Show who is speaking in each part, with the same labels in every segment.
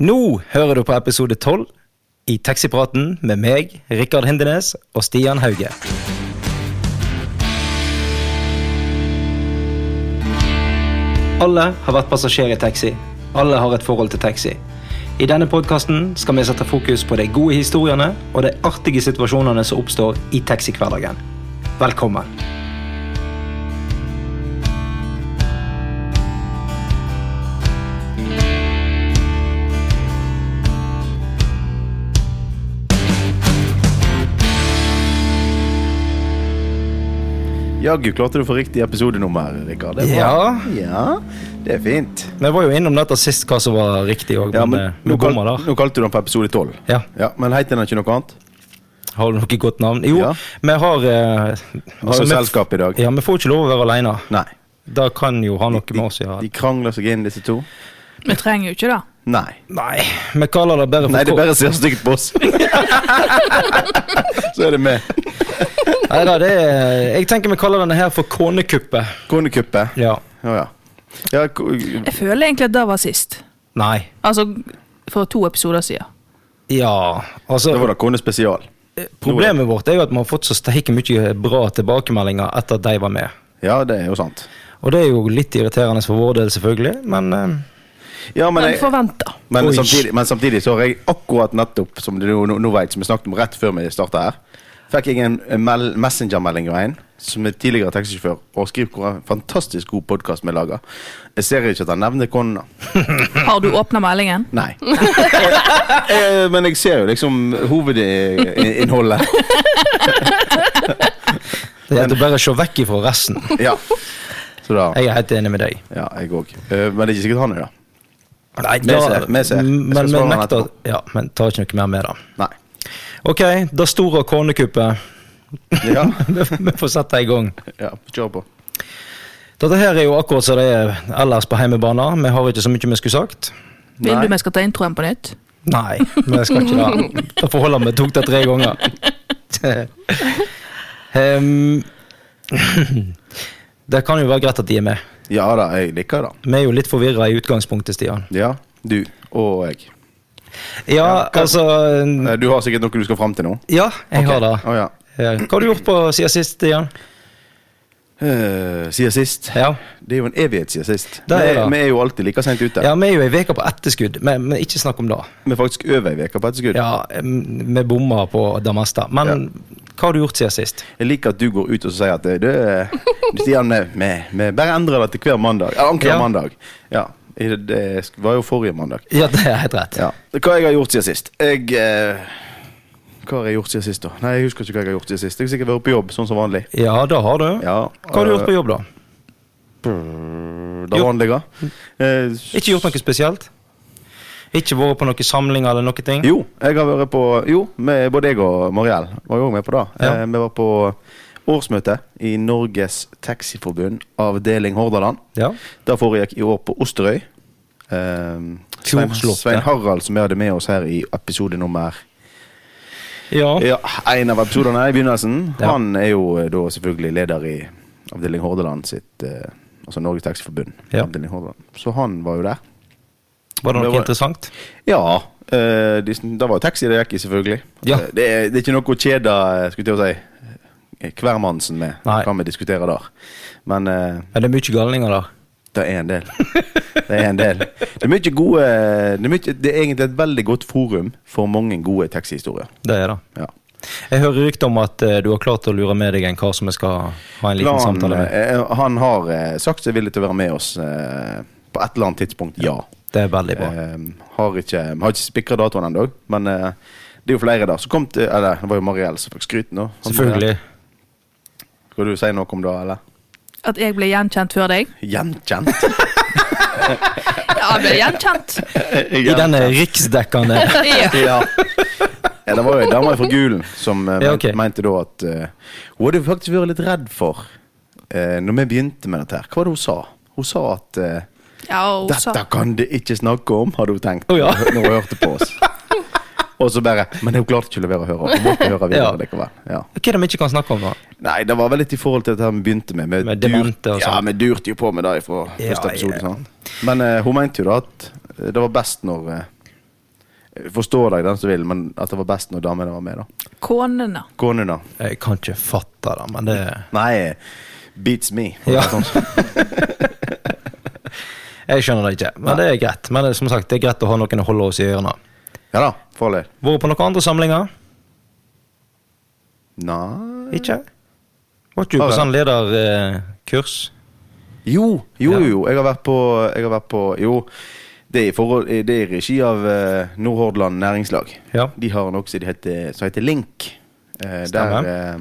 Speaker 1: Nå hører du på episode 12 i Taxipraten med meg, Rikard Hindenes og Stian Hauge. Alle har vært passasjer i taxi. Alle har et forhold til taxi. I denne podkasten skal vi sette fokus på de gode historiene og de artige situasjonene som oppstår i taxihverdagen. Velkommen.
Speaker 2: Jaggu klarte du å få riktig episodenummer, Rikard. Det er bra. ja. Det er fint.
Speaker 1: Vi var jo innom dette sist, hva som var riktig òg.
Speaker 2: Ja, men
Speaker 1: men,
Speaker 2: nå,
Speaker 1: nå
Speaker 2: kal
Speaker 1: kommer det.
Speaker 2: nå kalte du den for episode 12.
Speaker 1: Ja.
Speaker 2: Men heter den ikke noe annet?
Speaker 1: Har du noe godt navn? Jo,
Speaker 2: Ja.
Speaker 1: vi har eh, altså,
Speaker 2: Har du
Speaker 1: vi-
Speaker 2: selskap i dag?
Speaker 1: Ja, vi får ikke lov å være alene.
Speaker 2: Nei.
Speaker 1: Da kan jo ha noe
Speaker 2: De,
Speaker 1: med oss å gjøre.
Speaker 2: de krangler seg inn, disse to.
Speaker 3: Vi trenger jo ikke det.
Speaker 2: Nei.
Speaker 1: Nei, vi kaller det bare for
Speaker 2: Nei, det
Speaker 1: K-
Speaker 2: bare ser stygt på oss. Så er det med.
Speaker 1: Neida, det er, Jeg tenker vi kaller denne her for konekuppet.
Speaker 2: Konekuppet.
Speaker 1: Ja.
Speaker 2: Å ja. ja ko-
Speaker 3: Jeg føler egentlig at det var sist.
Speaker 1: Nei.
Speaker 3: Altså for to episoder siden.
Speaker 1: Ja,
Speaker 2: da var
Speaker 1: altså
Speaker 2: det konespesial.
Speaker 1: Problemet vårt er jo at vi har fått så steike mye bra tilbakemeldinger etter at de var med.
Speaker 2: Ja, det er jo sant.
Speaker 1: Og det er jo litt irriterende for vår del, selvfølgelig, men eh,
Speaker 2: Ja, men
Speaker 3: Men
Speaker 2: jeg,
Speaker 3: forventa.
Speaker 2: men,
Speaker 1: Oi.
Speaker 2: samtidig, men samtidig så har jeg akkurat nettopp, som du nå, nå vet, som vi snakket om rett før vi starta her, fikk jeg en mel- messengermelding av en som er tidligere taxisjåfør og skriver hvor en fantastisk god podkast vi lager. Jeg ser ikke at han nevner kona.
Speaker 3: Har du åpna meldingen?
Speaker 2: Nei. Eh, men jeg ser jo liksom hovedinnholdet.
Speaker 1: det er bare å se vekk ifra resten.
Speaker 2: Ja. Så da
Speaker 1: Jeg er helt enig med deg.
Speaker 2: Ja, jeg òg. Eh, Men det er ikke sikkert han er det.
Speaker 1: Nei,
Speaker 2: Vi ser, vi ser. Jeg skal
Speaker 1: Men vi
Speaker 2: svare han
Speaker 1: nekter
Speaker 2: etterpå.
Speaker 1: Ja, men tar ikke noe mer med det.
Speaker 2: Nei.
Speaker 1: Ok, det store konekuppet.
Speaker 2: Ja,
Speaker 1: vi får sette i gang.
Speaker 2: ja kjør på.
Speaker 1: Dette her er jo akkurat som det er ellers på hjemmebane. Vi har ikke så mye vi skulle sagt.
Speaker 3: Vil
Speaker 2: Nei.
Speaker 3: du vi skal ta introen på nytt?
Speaker 1: Nei, vi skal ikke det. Derfor holder vi tok det tre ganger. Ehm, det kan jo være greit at de er med.
Speaker 2: Ja da, jeg liker det.
Speaker 1: Vi er jo litt forvirra i utgangspunktet, Stian.
Speaker 2: Ja, du og jeg.
Speaker 1: Ja, altså
Speaker 2: Eh, Du har sikkert noe du skal fram til nå?
Speaker 1: Ja, jeg har det.
Speaker 2: Å ja.
Speaker 1: Eh, Hva har du gjort på siden sist, Stian?
Speaker 2: Eh, siden sist.
Speaker 1: Ja.
Speaker 2: Det er jo en evighet siden sist.
Speaker 1: Det er
Speaker 2: Vi-
Speaker 1: det.
Speaker 2: Vi er jo alltid like seint ute.
Speaker 1: ja, vi er jo ei uke på etterskudd, men, men ikke snakk om det.
Speaker 2: Vi er faktisk over ei uke på etterskudd.
Speaker 1: Ja, em, Vi bommer på det meste. Men hva har du gjort siden sist?
Speaker 2: Jeg liker at du går ut og sier at det, det du, Stian, vi, vi- vi bare endrer det til hver mandag. Ja, Annenhver
Speaker 1: Ja.
Speaker 2: mandag. Ja. Det, det var jo forrige mandag.
Speaker 1: Ja, det er helt rett.
Speaker 2: Ja. Hva jeg har gjort siden sist? Jeg eh, Hva har jeg gjort siden sist, da? Nei, jeg husker ikke hva jeg har gjort siden sist. Jeg har sikkert vært på jobb, sånn som vanlig.
Speaker 1: Ja, det har du.
Speaker 2: Ja, eh,
Speaker 1: Hva har du gjort på jobb, da?
Speaker 2: Det
Speaker 1: Jo.
Speaker 2: vanlige. Eh,
Speaker 1: Ikke gjort noe spesielt? Ikke vært på noen samlinger eller noen ting?
Speaker 2: Jo, jeg har vært på Jo, med både jeg og Mariell var jo også med på det.
Speaker 1: Ja.
Speaker 2: Eh, vi var på årsmøte i Norges Taxiforbund avdeling Hordaland.
Speaker 1: Ja.
Speaker 2: Det foregikk i år på Osterøy. Eh, Svein,
Speaker 1: Fjordslottet.
Speaker 2: Svein Harald, som vi hadde med oss her i episode nummer
Speaker 1: Ja.
Speaker 2: Ja, en av episodene i begynnelsen.
Speaker 1: Ja.
Speaker 2: Han er jo eh, da selvfølgelig leder i avdeling Hordaland sitt eh, Altså Norges Taxiforbund.
Speaker 1: Ja.
Speaker 2: Avdeling Hordaland. Så han var jo der.
Speaker 1: Var det
Speaker 2: Det
Speaker 1: noe
Speaker 2: var-
Speaker 1: interessant?
Speaker 2: Ja. eh, de, det var jo taxi det gikk i, selvfølgelig.
Speaker 1: Ja.
Speaker 2: Eh, Det, er- det er ikke noe å kjede eh, skulle jeg til å si, eh, hvermannsen med.
Speaker 1: Nei.
Speaker 2: Kan vi diskutere der. Men eh,
Speaker 1: Er det mye galninger der?
Speaker 2: det er en del. Det er en del. Det er mye gode eh, Det er, mye, det er egentlig et veldig godt forum for mange gode taxihistorier.
Speaker 1: Det er det.
Speaker 2: Ja.
Speaker 1: Jeg hører rykter om at eh, du har klart å lure med deg en kar som jeg skal ha en liten
Speaker 2: Lan,
Speaker 1: samtale med.
Speaker 2: eh, han har eh, sagt seg villig til å være med oss eh, på et eller annet tidspunkt, ja.
Speaker 1: Det er veldig bra.
Speaker 2: Eh, har ikke, har ikke spikra datoen ennå, men eh, det er jo flere der. Så kom til, eller, det var jo Mariell som fikk skryt nå. Han- eh,
Speaker 1: Selvfølgelig.
Speaker 2: Skal du si noe om det, eller?
Speaker 3: At jeg ble gjenkjent før deg?
Speaker 2: Gjenkjent?
Speaker 3: Ja, jeg ble gjenkjent.
Speaker 1: I denne riksdekkende
Speaker 3: Ja.
Speaker 2: Ja. ja. Det var jo ei dame fra Gulen som eh,
Speaker 1: Ja, ok.
Speaker 2: mente da at eh, Hun hadde jo faktisk vært litt redd for uh, Når vi begynte med dette her. Hva var det hun sa? Hun sa at eh,
Speaker 3: ja og så,
Speaker 2: 'Dette kan du ikke snakke om', hadde hun tenkt
Speaker 1: Å, ja.
Speaker 2: når hun hørte på oss. Og så bare Men hun klarte ikke å la være å høre. Hun måtte høre videre
Speaker 1: Ja.
Speaker 2: likevel. Ja.
Speaker 1: Hva er det vi ikke kan snakke om, da?
Speaker 2: Nei, det var vel litt i forhold til dette vi begynte med. Vi
Speaker 1: Med
Speaker 2: dur-
Speaker 1: demente og
Speaker 2: Ja,
Speaker 1: sånn.
Speaker 2: vi durte jo på med det fra
Speaker 1: Ja,
Speaker 2: første episode.
Speaker 1: ja.
Speaker 2: sant? Men eh, hun mente jo da at eh, det var best når eh, Forstår deg den som vil, men at det var best når damene var med, da.
Speaker 3: Konene.
Speaker 2: Kone, da.
Speaker 1: Jeg kan ikke fatte det, men det
Speaker 2: Nei, eh, beats me.
Speaker 1: Ja. Jeg skjønner det ikke, men det er greit. Men det, er som sagt, det er greit å ha noen å holde oss i ørene.
Speaker 2: Ja da, for all del.
Speaker 1: Vært på noen andre samlinger?
Speaker 2: Nei
Speaker 1: Ikke? Var ikke du på sånn lederkurs?
Speaker 2: Jo, jo,
Speaker 1: Ja.
Speaker 2: jo, jo. Jeg har vært på, jeg har vært på Jo, det er, i forhold, det er i regi av eh, Nordhordland Næringslag.
Speaker 1: Ja.
Speaker 2: De har noe som de heter, som heter Link. Eh,
Speaker 1: Stemmer.
Speaker 2: der, eh,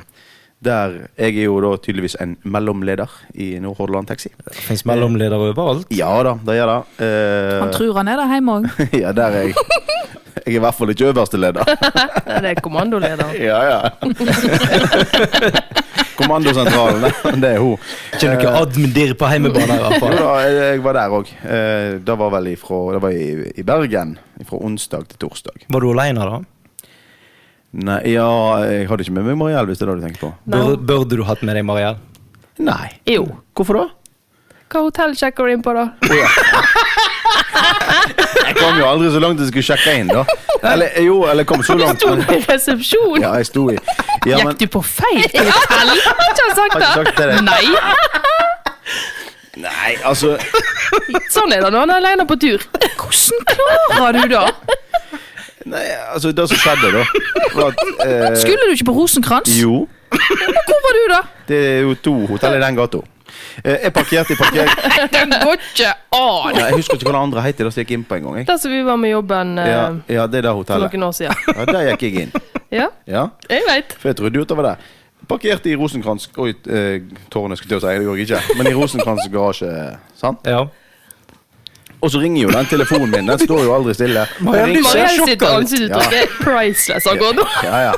Speaker 2: der Jeg er jo da tydeligvis en mellomleder i Nordhordland Taxi.
Speaker 1: Det fins mellomledere overalt.
Speaker 2: Ja da, det gjør det. Eh,
Speaker 3: Han tror han er der hjemme òg.
Speaker 2: ja, der er jeg. Jeg er i hvert fall ikke øverste leder.
Speaker 4: Ja, det er kommandoleder.
Speaker 2: Ja, ja. Kommandosentralen, det- det er hun.
Speaker 1: Ikke noe admdir på hjemmebane, i hvert
Speaker 2: Jo
Speaker 1: fall.
Speaker 2: da, jeg jeg var der òg. Det var vel ifra, det var i, i Bergen. Fra onsdag til torsdag.
Speaker 1: Var du aleine, da?
Speaker 2: Nei, ja, jeg hadde ikke med meg Mariell, hvis det er det du tenker på.
Speaker 1: Bør, burde du hatt med deg Mariell?
Speaker 2: Nei.
Speaker 4: Jo.
Speaker 2: Hvorfor da?
Speaker 4: Hva hotell sjekker du inn på, da?
Speaker 2: Jeg kom jo aldri så langt jeg skulle sjekke inn, da. Eller jo, eller kom så langt.
Speaker 4: Sto
Speaker 2: men-
Speaker 4: du i resepsjon?
Speaker 2: Ja, jeg sto i ja, men,
Speaker 4: Gikk du på feil hotell? Har ikke han sagt
Speaker 2: Har ikke sagt det,
Speaker 4: det?
Speaker 2: det.
Speaker 4: Nei.
Speaker 2: Nei, altså
Speaker 4: Sånn er det når han er alene på tur. Hvordan klarer du da?
Speaker 2: Nei, altså, det som skjedde, da var at, eh,
Speaker 3: Skulle du ikke på Rosenkrantz?
Speaker 2: Jo.
Speaker 3: Hvor var du, da?
Speaker 2: Det er jo to hotell i den gata. Eh, Jeg parkerte i parkering
Speaker 4: Nei, det går ikke an.
Speaker 2: Nei, Jeg husker ikke hva det andre het, det som jeg gikk inn på en gang. Jeg.
Speaker 4: Der som vi var med jobben eh,
Speaker 2: Ja, ja, det er det
Speaker 4: for
Speaker 2: hotellet.
Speaker 4: noen år siden.
Speaker 2: Ja, Der gikk jeg inn.
Speaker 4: Ja,
Speaker 2: Ja
Speaker 4: jeg veit.
Speaker 2: For jeg trodde jo at det var der. Parkerte i Rosenkrantz Oi, eh, tårnet skulle til å si, det gjorde jeg ikke. Men i Rosenkrantz garasje. sant?
Speaker 1: Ja.
Speaker 2: Og så ringer jo den telefonen min. Den står jo aldri stille.
Speaker 1: Marianne,
Speaker 2: Den ringer-
Speaker 1: du ser
Speaker 4: Mariell sitt
Speaker 1: sjokka ut.
Speaker 2: Ja.
Speaker 4: ansiktsuttrykk er priceless akkurat nå.
Speaker 2: Ja, ja.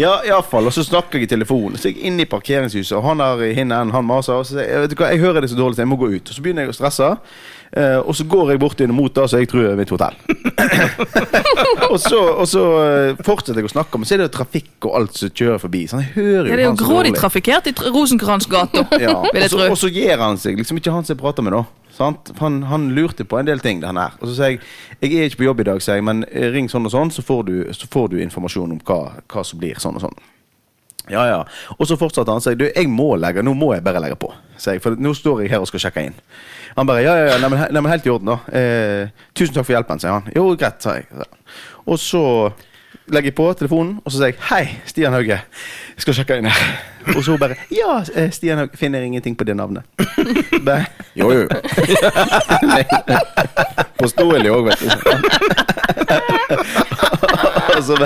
Speaker 2: Ja, iallfall. Og så snakker jeg i telefonen. Så jeg gikk inn i parkeringshuset, og han der i hinnen, han maser. Og så sier jeg vet du hva, jeg hører det så dårlig, så jeg må gå ut. Og så begynner jeg å stresse. eh, og så går jeg bort inn mot det som jeg tror er mitt hotell. og så, og så eh, fortsetter jeg å snakke, men så er det jo trafikk og alt som kjører forbi. Så jeg hører jo
Speaker 3: Ja, det er jo
Speaker 2: han så
Speaker 3: grådig
Speaker 2: dårlig.
Speaker 3: trafikkert i Tr- Rosenkrantz-gata.
Speaker 2: Ja,
Speaker 3: vil jeg
Speaker 2: og så-
Speaker 3: tro.
Speaker 2: Og så gir han seg. Liksom ikke han som jeg prater med, da. Sant? For Han, han lurte på en del ting. Han her. Og så sier jeg jeg er ikke på jobb i dag, sier jeg, men eh, ring sånn og sånn, så får du, så får du informasjon om hva, hva som blir sånn og sånn. Ja, ja. Og så fortsatte han og sa du, jeg må legge, nå må jeg bare legge på. Sier jeg, for nå står jeg her og skal sjekke inn. Han bare ja, ja, ja, nei, men, he- nei, men helt i orden, da. Eh, tusen takk for hjelpen, sier han. Jo, greit, sa jeg. Og så legger jeg på telefonen, og så sier jeg hei, Stian Hauge, jeg skal sjekke inn her. Og så hun bare ja, eh, Stian Hauge, finner ingenting på det navnet. Bare, jo, jo. Nei. Påståelig òg, vet du. Og så bare Altså,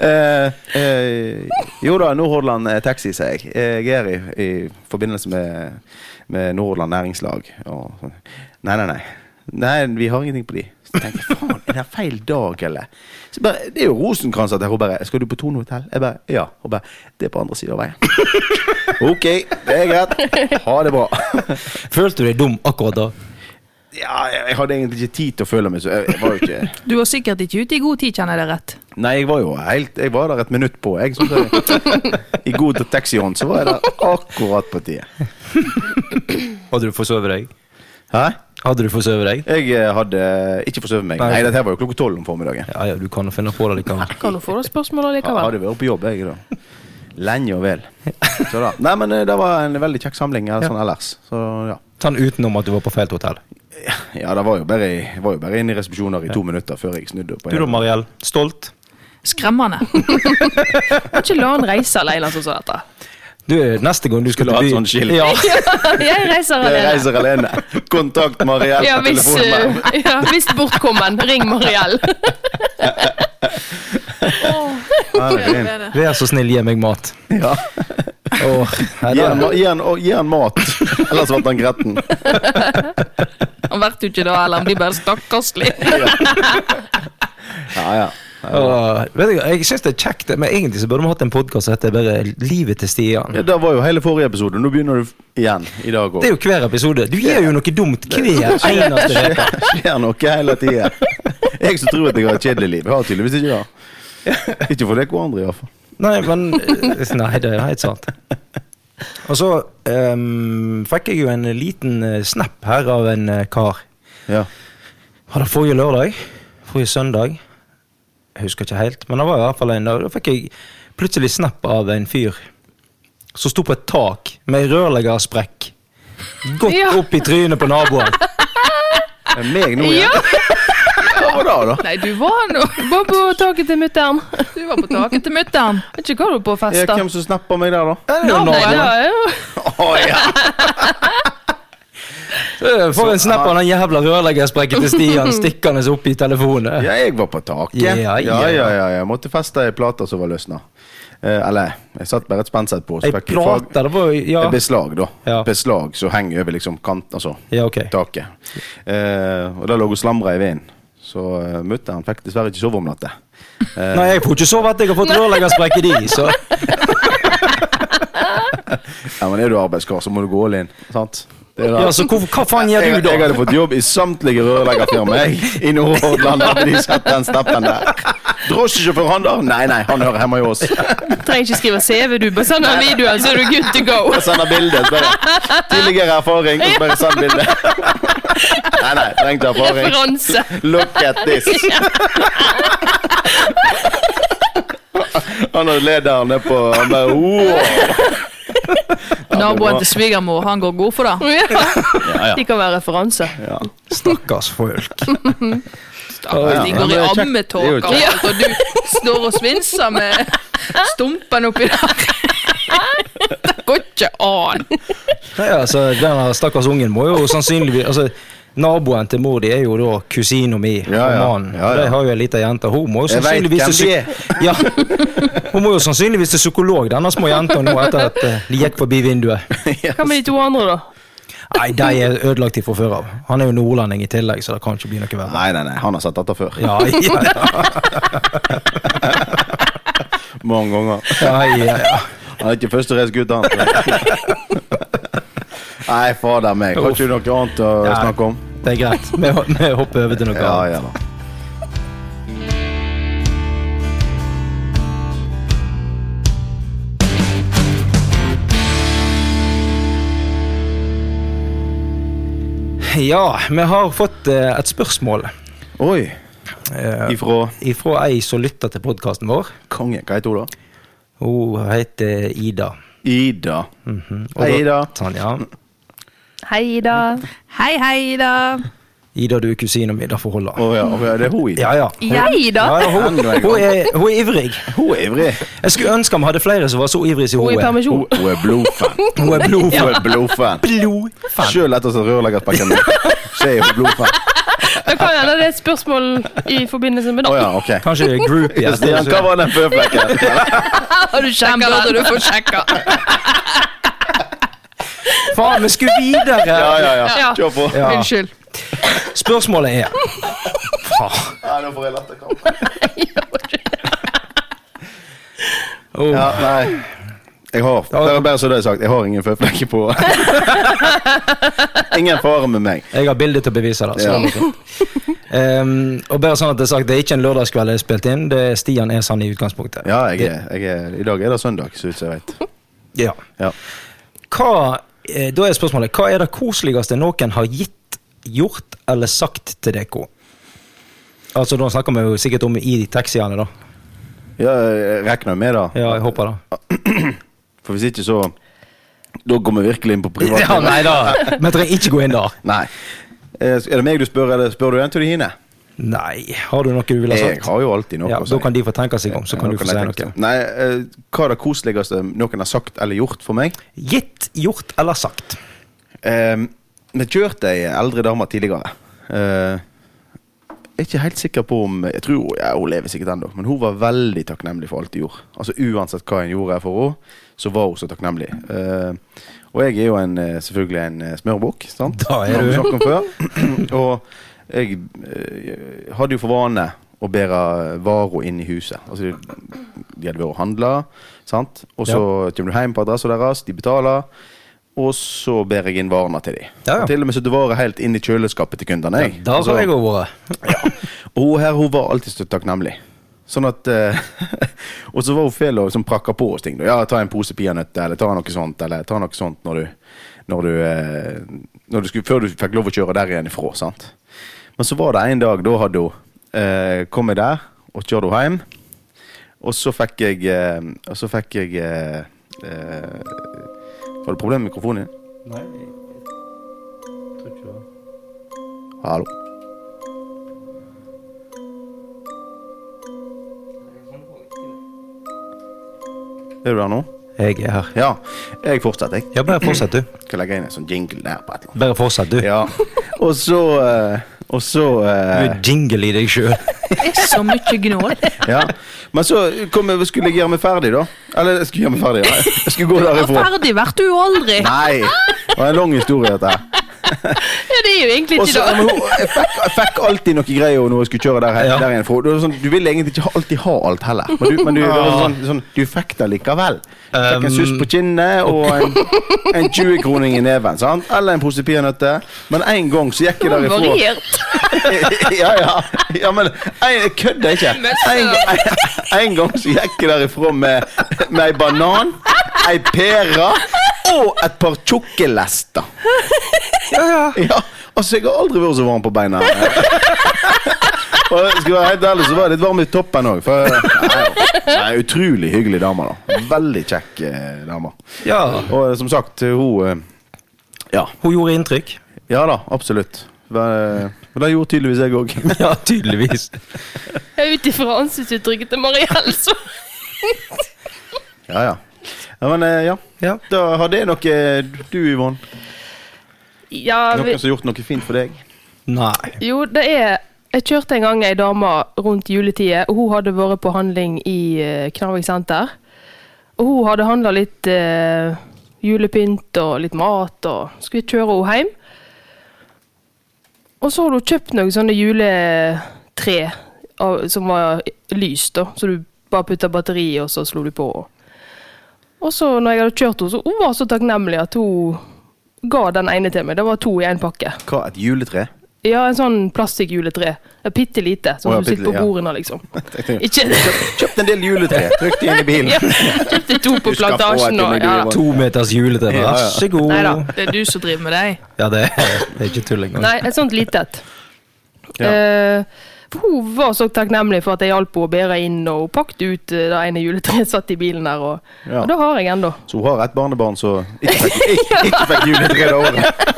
Speaker 2: eh, eh, Jo da, Nordhordland eh, Taxi, sier jeg. Eh, Jeg er i, i forbindelse med, med Nordhordland Næringslag. Og, sånn. nei, nei, nei. Nei, vi har ingenting på de. Så tenker jeg, faen, er det feil dag, eller? Så bare, Det er jo Rosenkranz der. Hun bare 'Skal du på Tone hotell?' Jeg bare 'Ja'. Hun bare 'Det er på andre siden av veien'. Ok, det er greit. Ha det bra.
Speaker 1: Følte du deg dum akkurat da?
Speaker 2: Ja, jeg jeg hadde egentlig ikke tid til å føle meg så jeg, jeg var jo ikke
Speaker 3: Du var sikkert ikke ute i god tid, kjenner jeg det rett.
Speaker 2: Nei, jeg var jo helt Jeg var der et minutt på, jeg. Så det, I god taxihånd så var jeg der akkurat på tide.
Speaker 1: Hadde du forsovet deg?
Speaker 2: Hæ?
Speaker 1: Hadde du forsovet deg?
Speaker 2: Jeg eh, hadde ikke forsovet meg.
Speaker 1: Nei.
Speaker 2: Nei, dette her var jo klokka tolv om formiddagen.
Speaker 1: Ja ja, du kan jo finne på det likevel.
Speaker 4: Kan du få noen spørsmål
Speaker 2: Jeg
Speaker 4: allikevel?
Speaker 2: hadde vært på jobb, jeg, da. Lenge og vel. Så da. Nei, men eh, det var en veldig kjekk samling eh, sånn ellers. Så ja.
Speaker 1: Sånn utenom at du var på feil hotell.
Speaker 2: Ja, det var jo bare, i- var jo bare inne i resepsjoner i to minutter før jeg snudde opp.
Speaker 1: Du da, Mariell. Stolt?
Speaker 3: Skremmende.
Speaker 4: Kan ikke la han reise alene sånn som dette.
Speaker 1: Du, neste gang du skal
Speaker 2: Skulle
Speaker 1: til
Speaker 2: hatt
Speaker 1: byen-
Speaker 2: sånn skilt.
Speaker 1: Ja.
Speaker 4: Jeg reiser
Speaker 2: Jeg
Speaker 4: alene.
Speaker 2: reiser alene. Kontakt Mariell
Speaker 4: Ja,
Speaker 2: på
Speaker 4: hvis,
Speaker 2: telefonen.
Speaker 4: eh, ja, hvis bortkommen. Ring Mariell.
Speaker 2: Ja, det er fint.
Speaker 1: Vær så snill, gi meg mat.
Speaker 2: Ja.
Speaker 1: Åh, nei,
Speaker 2: Gi
Speaker 1: da.
Speaker 2: han, ma- gi han, og gi han mat, ellers ble han gretten.
Speaker 4: Han vet jo ikke da, eller han blir bare stakkarslig.
Speaker 2: Ja, ja.
Speaker 1: Åh, vet du, hva, jeg syns det er kjekt, men egentlig så burde vi hatt en podkast som heter bare 'Livet til Stian'.
Speaker 2: Ja, Det var jo hele forrige episode. Nå begynner du f- igjen i dag
Speaker 1: Det er
Speaker 2: òg.
Speaker 1: jo hver episode. Du gjør jo noe dumt hver eneste uke.
Speaker 2: Skjer noe hele tida. Jeg som tror at jeg har et kjedelig liv. Jeg har tydeligvis ikke det. Ikke for deg og andre, iallfall.
Speaker 1: Nei, men eh, Nei, det er helt sant. Og så ehm, fikk jeg jo en liten eh, snap her av en eh, kar.
Speaker 2: Ja.
Speaker 1: Var det forrige lørdag? Forrige søndag? Jeg husker ikke helt, men det var i hvert fall en og Da fikk jeg plutselig snap av en fyr som sto på et tak med rørleggersprekk. Godt
Speaker 4: Ja.
Speaker 1: opp i trynet på naboen.
Speaker 2: Det er meg nå, ja.
Speaker 4: Ja.
Speaker 2: Hva var det, da?
Speaker 3: Nei, du var nå
Speaker 4: Bare på taket til mutter'n.
Speaker 3: Du var på taket til mutter'n.
Speaker 4: Vet ikke hva du var på
Speaker 2: Ja,
Speaker 4: fest, da.
Speaker 2: hvem som snapper meg der, da?
Speaker 1: Ja, det er jo
Speaker 4: Nei,
Speaker 1: naboen.
Speaker 4: det er jo-
Speaker 2: Å ja!
Speaker 1: Så Får Eh, en snap av den jævla rørleggersprekken til Stian stikkende opp i telefonen.
Speaker 2: Ja, jeg var på taket.
Speaker 1: Ja, ja.
Speaker 2: ja, ja, ja. Jeg måtte feste ei plate som var løsna. Eh, eller, jeg satt bare et spennsett på. så
Speaker 1: Ei
Speaker 2: fikk jeg fag-
Speaker 1: plate, det var jo Ja,
Speaker 2: Eh, Beslag, da.
Speaker 1: Ja.
Speaker 2: Beslag som henger over liksom kant, altså,
Speaker 1: ja ok.
Speaker 2: taket. Eh, og det lå og slamra i veien. Så uh, mutter'n fikk dessverre ikke sove om natta. Eh,
Speaker 1: Nei, jeg får ikke sove at jeg har fått rørleggersprekk i de, så
Speaker 2: ja, men er du arbeidskar, så må du gå all in. Sant? Det er det.
Speaker 1: Ja, så hvor, hva faen gjør du
Speaker 2: jeg, jeg
Speaker 1: da?
Speaker 2: hadde fått jobb i samtlige rørleggerfirma jeg, i Nordhordland. Hadde de sett den snappen der. Drosjesjåfør, han der? Nei, nei, han hører hjemme hos oss.
Speaker 4: Trenger ikke skrive CV, du. Bare send den videoen, så er du good to go.
Speaker 2: Og sender bilde. så bare, Tidligere erfaring, og så bare send bilde. Nei, nei, trengte erfaring.
Speaker 4: Referanse.
Speaker 2: Look at this. Han og lederen er på Han bare wow.
Speaker 3: Naboen til svigermor, han går god for det.
Speaker 2: Ja, ja.
Speaker 4: De kan være referanse.
Speaker 2: ja.
Speaker 1: Stakkars folk.
Speaker 3: Stakkars, de
Speaker 2: Ja, men
Speaker 3: går i
Speaker 2: det er kjekt.
Speaker 3: ammetåker,
Speaker 2: Det er jo
Speaker 3: og altså, du står og svinser med stumpen oppi der. Det går ikke an.
Speaker 1: Nei, altså, denne stakkars ungen må jo sannsynligvis altså, Naboen til mor di er jo da kusina mi. og
Speaker 2: Ja, ja.
Speaker 1: mannen.
Speaker 2: Ja, ja.
Speaker 1: De har jo ei lita jente. Hun må jo
Speaker 2: Jeg vet
Speaker 1: sannsynligvis
Speaker 2: hvem
Speaker 1: psy-
Speaker 2: de er.
Speaker 1: ja. Hun må jo sannsynligvis til psykolog, denne små jenta, nå etter at eh, de gikk forbi vinduet.
Speaker 4: Hva med de to andre, da?
Speaker 1: Nei, de er ødelagt ifra før av. Han er jo nordlending i tillegg, så det kan ikke bli noe verre.
Speaker 2: Nei, nei, nei, han har sett dette før.
Speaker 1: Ja, ja, ja,
Speaker 2: Mange ganger.
Speaker 1: ja, ja, ja.
Speaker 2: Han er ikke første race gutt, han. Nei, fader meg. Har ikke du noe annet å
Speaker 1: Ja.
Speaker 2: snakke om?
Speaker 1: Det er greit. Vi, vi hopper over til noe
Speaker 2: Ja,
Speaker 1: annet.
Speaker 2: ja da.
Speaker 1: Ja, vi har fått eh, et spørsmål
Speaker 2: Oi.
Speaker 1: eh,
Speaker 2: Ifra
Speaker 1: ifra ei som lytter til podkasten vår.
Speaker 2: kongen. Hva heter hun, da?
Speaker 1: Hun heter Ida.
Speaker 2: Ida.
Speaker 1: Og
Speaker 2: Hei,
Speaker 1: da-
Speaker 2: Ida.
Speaker 1: Sånn, ja.
Speaker 4: Hei, da.
Speaker 3: Hei, hei, da.
Speaker 1: Ida, du er kusina mi, derfor holder
Speaker 2: Å ja, å ja, det er hun, Ida.
Speaker 1: Ja, ja.
Speaker 4: Hei,
Speaker 1: ja
Speaker 4: da.
Speaker 1: ja, hun,
Speaker 2: Enda en gang.
Speaker 1: hun, er, hun er ivrig.
Speaker 2: Hun er ivrig.
Speaker 1: Jeg skulle ønske vi hadde flere som var så ivrige som
Speaker 4: Hun er
Speaker 1: hun
Speaker 4: i
Speaker 1: er.
Speaker 4: permisjon.
Speaker 2: Hun, hun er blodfan.
Speaker 1: Hun er
Speaker 2: Hun
Speaker 1: blodfan.
Speaker 2: er blodfan.
Speaker 1: Blodfan.
Speaker 2: Sjøl etter at rørleggersprekken min, så er hun blodfan.
Speaker 4: Det kan hende det er et spørsmål i forbindelse med
Speaker 2: Å
Speaker 4: det.
Speaker 2: ja, ok.
Speaker 1: Kanskje groupie.
Speaker 2: Stian, hva var den føflekken?
Speaker 3: Har du sjekka den? burde du få sjekka.
Speaker 1: Faen, vi skulle videre!
Speaker 2: Ja, ja, ja.
Speaker 4: Ja.
Speaker 2: Kjør på.
Speaker 1: Ja.
Speaker 3: Unnskyld.
Speaker 1: Spørsmålet er Faen.
Speaker 2: Ja, nå får jeg latterkrampe.
Speaker 1: Oh.
Speaker 2: Ja, nei. Jeg har det er bare så det er sagt, jeg har ingen føflekker på. Ingen fare med meg.
Speaker 1: Jeg har bilde til å bevise det. Så.
Speaker 2: Ja.
Speaker 1: det er fint. Ehm, og bare sånn at Det er sagt, det er ikke en lørdagskveld jeg har spilt inn. Det er Stian er sann i utgangspunktet.
Speaker 2: Ja, jeg er, jeg er, I dag er det søndag, så vidt jeg vet.
Speaker 1: Ja.
Speaker 2: Ja.
Speaker 1: Hva, eh, da er spørsmålet hva er det koseligste noen har gitt, gjort eller sagt til dere? Altså, Da snakker vi jo sikkert om i taxiene, da.
Speaker 2: Ja, jeg regner med det.
Speaker 1: Ja, jeg håper det.
Speaker 2: For hvis ikke, så Da går vi virkelig inn på privat.
Speaker 1: Ja, nei da. Vi trenger ikke gå inn der.
Speaker 2: Nei. Eh, Er det meg du spør, eller spør du en til Hine?
Speaker 1: Nei. Har du noe du ville
Speaker 2: Jeg
Speaker 1: sagt?
Speaker 2: har jo alltid noe
Speaker 1: Ja,
Speaker 2: å
Speaker 1: da
Speaker 2: si.
Speaker 1: kan de få tenke seg om, så kan
Speaker 2: Ja,
Speaker 1: du få si
Speaker 2: jeg tenke
Speaker 1: noe.
Speaker 2: meg. Nei, eh, Hva er det koseligste noen har sagt eller gjort for meg?
Speaker 1: Gitt, gjort eller sagt.
Speaker 2: Eh, Vi kjørte ei eldre dame tidligere. Eh, Jeg er ikke helt sikker på om Jeg tror ja, Hun lever sikkert ennå, men hun var veldig takknemlig for alt hun gjorde. Altså Uansett hva en gjorde for henne, så var hun så takknemlig. Eh, og jeg er jo en, eh, selvfølgelig en eh, smørbukk, sant?
Speaker 1: Da er
Speaker 2: Har vi
Speaker 1: du.
Speaker 2: snakket om før. og jeg eh, hadde jo for vane å bære varer inn i huset. Altså, de hadde vært og handla, sant? Og så kommer du hjem på adressen deres, de betaler. Og så bærer jeg inn varene til dem.
Speaker 1: Ja, ja.
Speaker 2: Til og med satte varer helt inn i kjøleskapet til kundene. jeg.
Speaker 1: Da
Speaker 2: Altså,
Speaker 1: har jeg òg vært.
Speaker 2: og hun her hun var alltid så takknemlig. Sånn at eh, Og så var hun fæl og liksom prakka på oss ting. da. Ja, ta en pose peanøtter, eller ta noe sånt, eller ta noe sånt når du, når du, eh, når du skulle, Før du fikk lov å kjøre der igjen ifra, sant. Men så var det en dag, da hadde hun eh, kommet der, og kjørte henne hjem. Og så fikk jeg eh, Og så fikk jeg eh, eh, Var det problem med mikrofonen din?
Speaker 1: Nei, jeg jeg tror ikke det. var-
Speaker 2: Hallo? Er du der nå?
Speaker 1: Jeg er her.
Speaker 2: Ja. Jeg fortsetter, jeg.
Speaker 1: Ja, bare fortsett, du.
Speaker 2: Skal legge inn en sånn jingle der på et eller annet.
Speaker 1: Bare fortsett, du.
Speaker 2: Ja. Og så eh, Og så eh,
Speaker 1: Du er jingle i deg sjøl.
Speaker 3: Det er så mye gnål.
Speaker 2: Ja. Men så kom jeg, skulle jeg gjøre meg ferdig, da. Eller jeg skulle gjøre meg ferdig, ja. Jeg skulle gå
Speaker 3: Og
Speaker 2: derifra.
Speaker 3: ferdig blir du jo aldri.
Speaker 2: Nei! Det var en lang historie, dette her.
Speaker 3: Ja, det er jo egentlig
Speaker 2: Og
Speaker 3: ikke
Speaker 2: så,
Speaker 3: det.
Speaker 2: men hun- jeg, fikk, jeg fikk alltid noe greier når jeg skulle kjøre der,
Speaker 1: Ja.
Speaker 2: der igjen. For, det var sånn, du vil egentlig ikke alltid ha alt heller. Men du, men du, det
Speaker 3: Ah.
Speaker 2: var sånn, sånn, du fikk det likevel. Du fikk en
Speaker 3: Um,
Speaker 2: suss på kinnet og en, en 20-kroning i neven. sant? Eller en pose peanøtter. Men en gang så gikk jeg
Speaker 3: Det var
Speaker 2: derifra
Speaker 3: Variert.
Speaker 2: ja, ja. ja, men jeg jeg kødder ikke. En, en, en gang så gikk jeg derifra med, med ei banan, ei pære og et par tjukke lester. Ja, ja. altså, jeg har aldri vært så varm på beina. Og skal jeg være helt ærlig, så var jeg litt varm i toppen òg. Utrolig hyggelig dame. da Veldig kjekk eh, dame.
Speaker 1: Ja.
Speaker 2: Og eh, som sagt, hun eh, Ja.
Speaker 1: Hun gjorde inntrykk.
Speaker 2: Ja da, absolutt. eh, Men det gjorde tydeligvis jeg òg.
Speaker 1: Ja, tydeligvis.
Speaker 4: Ut ifra ansiktsuttrykket til Mariell, så
Speaker 2: Ja, ja. ja, men eh, ja.
Speaker 1: Ja.
Speaker 2: Da har det noe Du, Yvonne.
Speaker 4: Ja, vi,
Speaker 2: Noen som har gjort noe fint for deg?
Speaker 1: Nei.
Speaker 4: jo, det er Jeg kjørte en gang ei dame rundt juletider, og hun hadde vært på handling i eh, Knarvik senter. Og hun hadde handla litt eh, julepynt og litt mat, og skulle kjøre henne hjem. Og så hadde hun kjøpt noen sånne juletre av- som var lys, da. Så du bare putta batteri i, og så slo du på. Og så, når jeg hadde kjørt henne, så hun var så takknemlig at hun ga den ene til meg. Det var to i én pakke.
Speaker 2: Hva, et juletre?
Speaker 4: Ja, en sånn plastikkjuletre. Bitte lite,
Speaker 2: Å,
Speaker 4: sånn
Speaker 2: ja,
Speaker 4: som du sitter
Speaker 2: bitte-
Speaker 4: på
Speaker 2: ja.
Speaker 4: bordene, liksom.
Speaker 2: Kjøpt
Speaker 4: Ikke
Speaker 2: en del juletre. Trykt inn i bilen.
Speaker 4: ja, Kjøpte to
Speaker 2: Du skal få
Speaker 4: på
Speaker 2: et
Speaker 4: plantasjen og
Speaker 2: inni
Speaker 4: ja.
Speaker 2: du, Yvonne.
Speaker 1: To meters juletre.
Speaker 2: Ja, ja.
Speaker 1: Vær så god.
Speaker 4: Nei da.
Speaker 3: Det er du som driver med deg.
Speaker 1: Ja, det er, det er ikke tull engang.
Speaker 4: Nei, et sånt lite et.
Speaker 2: Ja.
Speaker 4: Eh, for hun var så takknemlig for at jeg hjalp henne å bære inn, og hun pakket ut eh, det ene juletreet satt i bilen der, og,
Speaker 2: Ja.
Speaker 4: og det har jeg ennå.
Speaker 2: Så hun har et barnebarn som ikke fikk, ikke, ikke fikk juletre det året.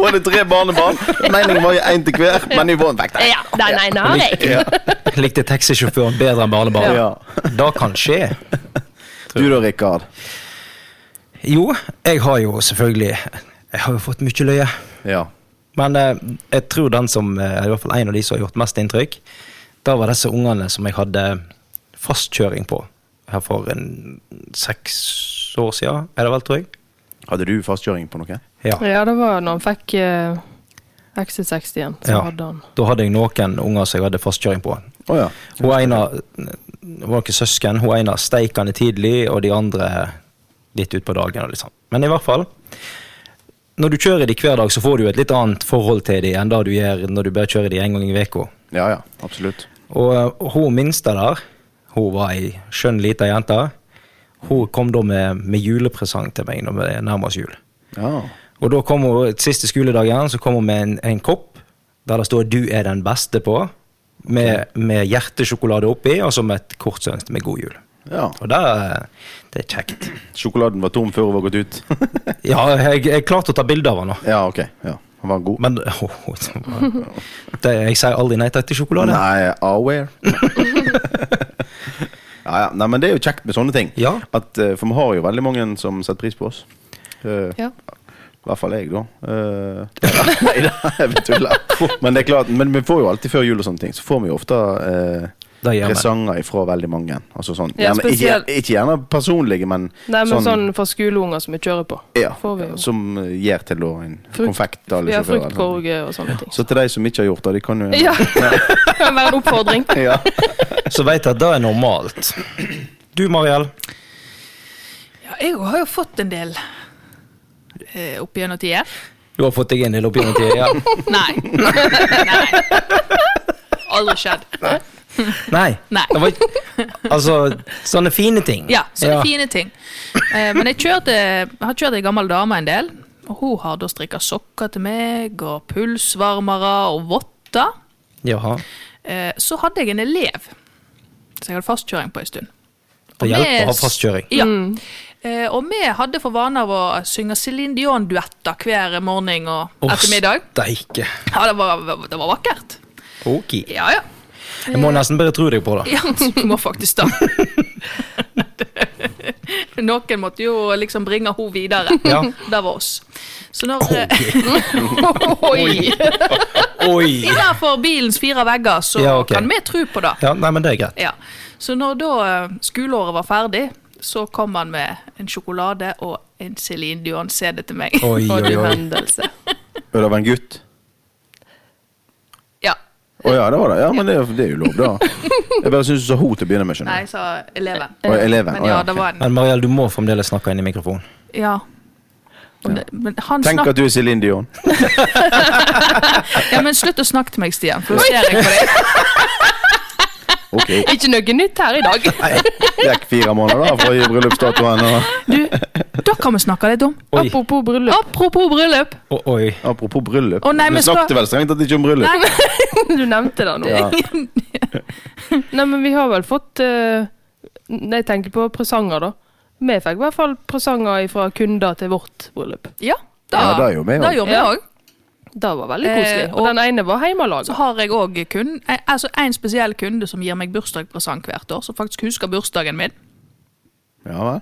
Speaker 2: Hun hadde tre barnebarn. Meningen var jo én til hver, men Yvonne fikk det.
Speaker 4: Ja, den ene har jeg.
Speaker 2: Ja.
Speaker 1: Likte taxisjåføren bedre enn barnebarnet?
Speaker 2: Ja.
Speaker 1: Det kan skje.
Speaker 2: Du da, Rikard.
Speaker 1: Jo, jeg har jo selvfølgelig Jeg har jo fått mye løye.
Speaker 2: Ja.
Speaker 1: Men eh, jeg tror den som eh, i hvert fall en av de som har gjort mest inntrykk, da var disse ungene som jeg hadde fastkjøring på her for en seks år siden, er det vel, tror jeg.
Speaker 2: Hadde du fastkjøring på noe?
Speaker 1: Ja.
Speaker 4: Ja, det var når han fikk eh, XC60 igjen, så
Speaker 1: Ja.
Speaker 4: hadde han.
Speaker 1: Da hadde jeg noen unger som jeg hadde fastkjøring på.
Speaker 2: Å ja.
Speaker 1: Hun ene var ikke søsken. Hun ene steik henne tidlig, og de andre litt utpå dagen. og litt sånn. Men i hvert fall, når du kjører de hver dag, så får du jo et litt annet forhold til de enn det du gjør når du bare kjører de en gang i uka.
Speaker 2: Ja ja, absolutt.
Speaker 1: Og eh, hun minste der, hun var ei skjønn lita jente, hun kom da med, med julepresang til meg når vi nærmer oss jul.
Speaker 2: Ja.
Speaker 1: Og da kom hun, siste skoledagen så kom hun med en, en kopp der det står 'Du er den beste' på, med, med hjertesjokolade oppi, og som et kort sønst med 'God jul'.
Speaker 2: ja.
Speaker 1: Og det, det er kjekt.
Speaker 2: Sjokoladen var tom før hun var gått ut.
Speaker 1: Ja, jeg, jeg klarte å ta bilde av henne.
Speaker 2: ja, ok. Ja. Han var god.
Speaker 1: Men åh, det, jeg sier aldri nei takk til sjokolade.
Speaker 2: Nei, aware. ja, ja. Nei, men det er jo kjekt med sånne ting.
Speaker 1: Ja.
Speaker 2: At, eh, for vi har jo veldig mange som setter pris på oss. Eh,
Speaker 4: Ja.
Speaker 2: I hvert fall jeg, da. Eh, nei da, jeg tuller. Men det er klart, men vi får jo alltid før jul og sånne ting, så får vi jo ofte eh,
Speaker 1: Det gjør vi.
Speaker 2: presanger ifra veldig mange. Altså sånn,
Speaker 4: Ja,
Speaker 2: gjerne, ikke,
Speaker 4: spesielt-
Speaker 2: ikke gjerne personlige, men,
Speaker 4: Nei, men sånn for skoleunger som vi kjører på.
Speaker 2: ja,
Speaker 4: får vi jo.
Speaker 2: Som eh, gir til da en
Speaker 4: Frukt-
Speaker 2: konfekt. til alle
Speaker 4: Ja,
Speaker 2: sjåfører Sånn. eller sånne ting.
Speaker 4: fruktkorg og sånne ting.
Speaker 2: Så til de som ikke har gjort det, de kan jo
Speaker 4: Ja, det kan være en oppfordring.
Speaker 2: ja.
Speaker 1: Så veit jeg at det er normalt. Du, Mariell.
Speaker 3: Ja, jeg har jo fått en del eh, opp gjennom tida.
Speaker 1: Du har fått deg en del opp gjennom tida. Ja.
Speaker 3: Nei. Nei. Aldri skjedd.
Speaker 1: Nei.
Speaker 3: Nei.
Speaker 1: Det var, ikke- altså, sånne fine ting.
Speaker 3: Ja, sånne fine ting. Eh, men jeg kjørte, jeg har kjørt ei gammel dame en del. Og hun har da strikka sokker til meg, og pulsvarmere og votter.
Speaker 1: Jaha.
Speaker 3: Eh, Så hadde jeg en elev som jeg hadde fastkjøring på en stund.
Speaker 1: Det
Speaker 3: Og
Speaker 1: hjelper å ha
Speaker 3: vi-
Speaker 1: fastkjøring.
Speaker 3: Ja. Eh, Og vi hadde for vane av å synge Céline Dion-duetter hver morgen og
Speaker 1: Åh,
Speaker 3: ettermiddag.
Speaker 1: Steike.
Speaker 3: Ja, det var, det var vakkert.
Speaker 1: Ok.
Speaker 3: Ja, ja.
Speaker 1: Jeg
Speaker 3: Eh,
Speaker 1: må nesten bare tro deg på det.
Speaker 3: Ja, du må faktisk da. Noen måtte jo liksom bringe henne videre.
Speaker 1: Ja.
Speaker 3: Det var oss. Så når eh,
Speaker 4: Oi!
Speaker 1: Oi!
Speaker 3: Innafor bilens fire vegger, så
Speaker 1: Ja, ok.
Speaker 3: kan vi tro på det.
Speaker 1: Ja, nei, men det er greit.
Speaker 3: Ja. Så når da eh, skoleåret var ferdig, så kom han med en sjokolade og en Céline Dion-CD til meg.
Speaker 1: Oi,
Speaker 4: For
Speaker 1: oi,
Speaker 4: en
Speaker 1: oi.
Speaker 4: hendelse.
Speaker 2: Og det var en gutt?
Speaker 3: Ja.
Speaker 2: Å ja, det var det. Ja, men det, er jo- det er jo lov, da. Jeg bare syns du sa ho til å begynne med,
Speaker 3: Nei,
Speaker 2: skjønner du.
Speaker 3: jeg sa eleven.
Speaker 2: Å, Eh, eleven.
Speaker 3: Men
Speaker 2: Å,
Speaker 3: ja,
Speaker 2: ja,
Speaker 3: det
Speaker 2: ok.
Speaker 3: var en
Speaker 1: Men Marielle, du må fremdeles snakke inn i mikrofonen.
Speaker 3: Ja. Og det- Men han
Speaker 2: Tenk
Speaker 3: snakker
Speaker 2: at du er Céline Dion.
Speaker 3: Ja, men slutt å snakke til meg, Stian, for da ser jeg på deg.
Speaker 2: Ok,
Speaker 4: Ikke noe nytt her i dag.
Speaker 2: gikk fire måneder da fra bryllupsdatoen. Og
Speaker 3: Du, da kan vi snakke litt om
Speaker 1: Oi.
Speaker 4: Apropos bryllup.
Speaker 3: Apropos bryllup.
Speaker 1: Å, oi.
Speaker 2: apropos bryllup.
Speaker 3: Å, nei, men
Speaker 2: vi
Speaker 3: skal-
Speaker 2: snakket vel strengt tatt ikke om bryllup.
Speaker 3: Nei,
Speaker 4: Du nevnte det nå.
Speaker 2: Ja.
Speaker 4: Nei, men vi har vel fått eh, Nei, jeg tenker på presanger, da. Vi fikk i hvert fall presanger fra kunder til vårt bryllup.
Speaker 3: ja,
Speaker 2: Ja, det gjorde vi
Speaker 3: da
Speaker 2: også.
Speaker 3: gjorde vi
Speaker 4: Ja.
Speaker 3: også.
Speaker 4: Det var veldig koselig.
Speaker 3: Eh,
Speaker 4: og,
Speaker 3: og-
Speaker 4: den ene var hjemmelaga.
Speaker 3: Så har jeg òg kun eh, Altså en spesiell kunde som gir meg bursdagspresang hvert år, som faktisk husker bursdagen min.
Speaker 2: Ja, vel?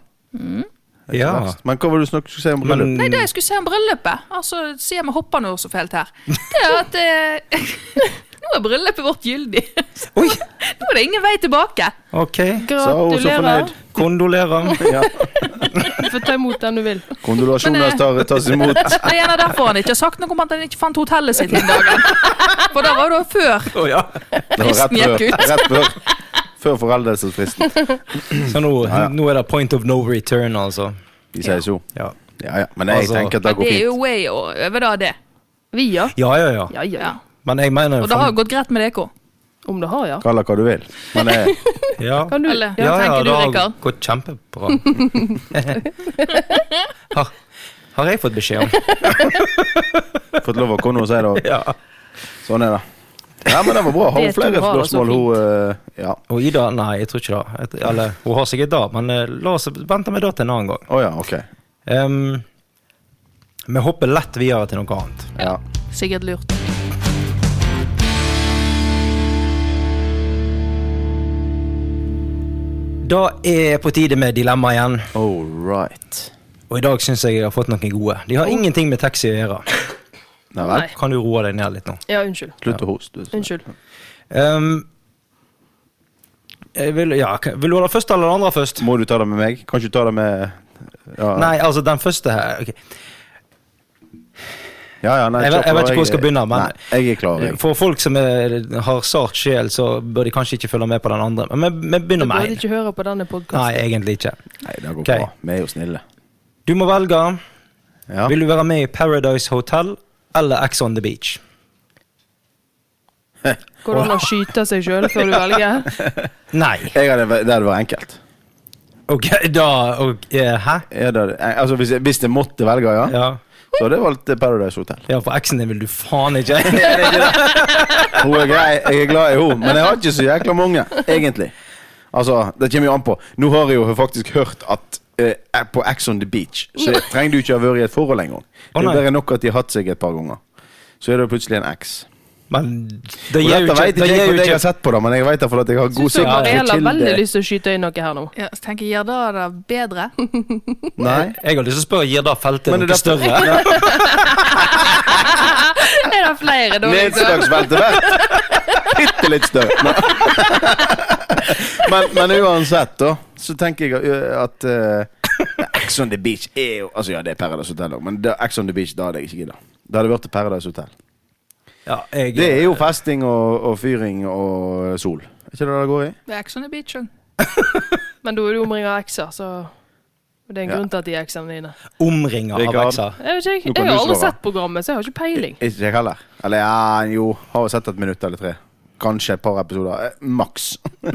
Speaker 2: Ikke
Speaker 1: Ja.
Speaker 2: verst. Men hva var det du snakket skulle si om bryllup?
Speaker 3: Nei,
Speaker 1: Men
Speaker 3: det jeg skulle se om bryllupet. Altså, sier vi hopper noe så fælt her. Det er at eh, Nå er bryllupet vårt gyldig.
Speaker 1: Oi!
Speaker 3: Nå er det ingen vei tilbake.
Speaker 1: Ok.
Speaker 2: Så er hun så fornøyd.
Speaker 4: Gratulerer.
Speaker 1: Kondolerer.
Speaker 2: Ja.
Speaker 4: Du får ta imot den du vil.
Speaker 2: Kondolasjoner tar, tas imot.
Speaker 3: eh, Det er gjerne derfor han ikke har sagt noe om at han ikke fant hotellet sitt den dagen. For det var jo da før.
Speaker 1: Å ja.
Speaker 2: Det var rett
Speaker 3: Fristen
Speaker 2: før.
Speaker 3: gikk
Speaker 2: Rett før. Før foreldelsesfristen.
Speaker 1: Så nå,
Speaker 2: Ja, ja.
Speaker 1: nå er det point of no return, altså.
Speaker 2: De sier så.
Speaker 1: Ja,
Speaker 2: Ja, ja. Men jeg
Speaker 1: Altså-
Speaker 2: tenker at det
Speaker 3: Men
Speaker 2: går
Speaker 3: det er
Speaker 2: fint.
Speaker 3: jo way over da, det.
Speaker 4: Vi, ja.
Speaker 1: ja, ja. ja.
Speaker 4: Ja, ja, ja.
Speaker 3: Ja.
Speaker 1: Men jeg mener jo
Speaker 3: Og det har
Speaker 1: frem-
Speaker 3: jo gått greit med dere.
Speaker 4: Om det har, ja.
Speaker 2: Kall det hva du vil. Men jeg,
Speaker 1: ja.
Speaker 4: Kan du?
Speaker 3: Eller-
Speaker 4: Ja.
Speaker 1: ja,
Speaker 3: tenker
Speaker 1: ja,
Speaker 3: du,
Speaker 1: det har
Speaker 3: Rikard?
Speaker 1: gått kjempebra. har, har jeg fått beskjed om.
Speaker 2: fått lov å komme og si det. og
Speaker 1: Ja.
Speaker 2: Sånn er det. Ja, men det var bra. Har hun
Speaker 4: Det tror
Speaker 2: flere
Speaker 4: jeg var
Speaker 1: altså,
Speaker 4: så
Speaker 2: spørsmål? Hun, eh, ja.
Speaker 1: Og Ida, nei, jeg tror ikke det. Et- Eller, hun har sikkert det, men eh, la oss vente med det til en annen gang.
Speaker 2: Å ja, ok.
Speaker 1: Ehm, vi hopper lett videre til noe annet.
Speaker 2: Ja.
Speaker 3: Sikkert lurt.
Speaker 1: Da er på tide med dilemma igjen,
Speaker 2: All right.
Speaker 1: og i dag syns jeg jeg har fått noen gode. De
Speaker 4: Oh.
Speaker 1: har ingenting med taxi å gjøre.
Speaker 2: Nei vel.
Speaker 4: Nei.
Speaker 1: Kan du roe deg ned litt nå?
Speaker 4: ja, unnskyld.
Speaker 2: Slutt å hoste. du.
Speaker 4: Unnskyld.
Speaker 1: Ehm, jeg vil, ja, k- vil du ha det første eller det andre først?
Speaker 2: Må du ta det med meg? Kan ikke du ta det med ja.
Speaker 1: Nei, altså den første her. ok.
Speaker 2: Ja, ja, nei,
Speaker 1: Jeg vet- jeg vet
Speaker 2: kjapt,
Speaker 1: ikke hvor jeg skal begynne, men-
Speaker 2: Nei, jeg er klar. Jeg.
Speaker 1: For folk som er, har sart sjel, så bør de kanskje ikke følge med på den andre. Men vi- vi
Speaker 4: Du
Speaker 1: begynner med
Speaker 4: burde
Speaker 1: én.
Speaker 4: ikke høre på denne podkasten.
Speaker 1: Nei, egentlig ikke.
Speaker 2: Nei, det går
Speaker 1: Ok.
Speaker 2: bra. Vi er jo snille.
Speaker 1: Du må velge.
Speaker 2: Ja.
Speaker 1: Vil du være med i Paradise Hotel eller Ex on the Beach?
Speaker 4: Går det an å skyte seg sjøl før du velger?
Speaker 1: Nei.
Speaker 2: Jeg hadde, det hadde vært enkelt.
Speaker 1: Ok, da og, eh, Hæ?
Speaker 2: Jeg hadde, altså, hvis, jeg, hvis jeg måtte velge, ja,
Speaker 1: Ja.
Speaker 2: så hadde jeg valgt Paradise Hotel.
Speaker 1: ja, for eksen din vil du faen ikke.
Speaker 2: Hun er grei, jeg er glad i henne, men jeg har ikke så jækla mange, egentlig. Altså, Det kommer jo an på. Nå har jeg jo faktisk hørt at eh, på Ex on the Beach så trenger du ikke ha vært i et forhold engang. Det
Speaker 1: Å,
Speaker 2: er
Speaker 1: nei.
Speaker 2: bare nok at de har hatt seg et par ganger. Så er det plutselig en X.
Speaker 1: Men det gir
Speaker 2: Og
Speaker 1: jo
Speaker 2: dette
Speaker 1: ikke
Speaker 2: vet
Speaker 1: Det
Speaker 2: ikke jeg
Speaker 1: gir jo
Speaker 2: fordi jeg har
Speaker 1: ikke
Speaker 2: sett på det, men jeg vet det fordi at jeg har god
Speaker 4: Syns
Speaker 1: sikkert
Speaker 4: Mariella har
Speaker 2: sikkerhet
Speaker 4: veldig
Speaker 2: til det.
Speaker 4: lyst til å skyte inn noe her nå.
Speaker 3: Ja, så tenker jeg, gjør det det bedre?
Speaker 2: Nei.
Speaker 1: Jeg har lyst til å spørre, gir det feltet
Speaker 2: Men
Speaker 1: noe
Speaker 2: det er derfor-
Speaker 1: større?
Speaker 4: Er det flere, da? Liksom?
Speaker 2: Nedslagsfeltet vårt. Bitte litt større. Men- Men, men uansett, da, så tenker jeg ø, at uh, Ex on the Beach er jo Altså, ja, det er Paradise Hotel òg, men da- Ex on the Beach, da hadde jeg ikke gidda. Da hadde det vært Paradise Hotel.
Speaker 1: Ja, jeg,
Speaker 2: Det er jo festing og, og fyring og sol. Er ikke det det går i?
Speaker 3: Det er Ex on the Beach òg.
Speaker 4: Men da er du omringa av ekser, så Det er en
Speaker 2: Ja.
Speaker 4: grunn til at de er eksene dine.
Speaker 1: omringa av
Speaker 2: Rikard.
Speaker 1: ekser.
Speaker 4: Jeg vet ikke,
Speaker 2: Nå
Speaker 4: jeg,
Speaker 2: kan du
Speaker 4: jeg har aldri
Speaker 2: svare.
Speaker 4: sett programmet, så jeg har ikke peiling.
Speaker 2: Ikke jeg heller. Eller ja, jo. Har jo sett et minutt eller tre. Kanskje et par episoder. Eh, Maks. men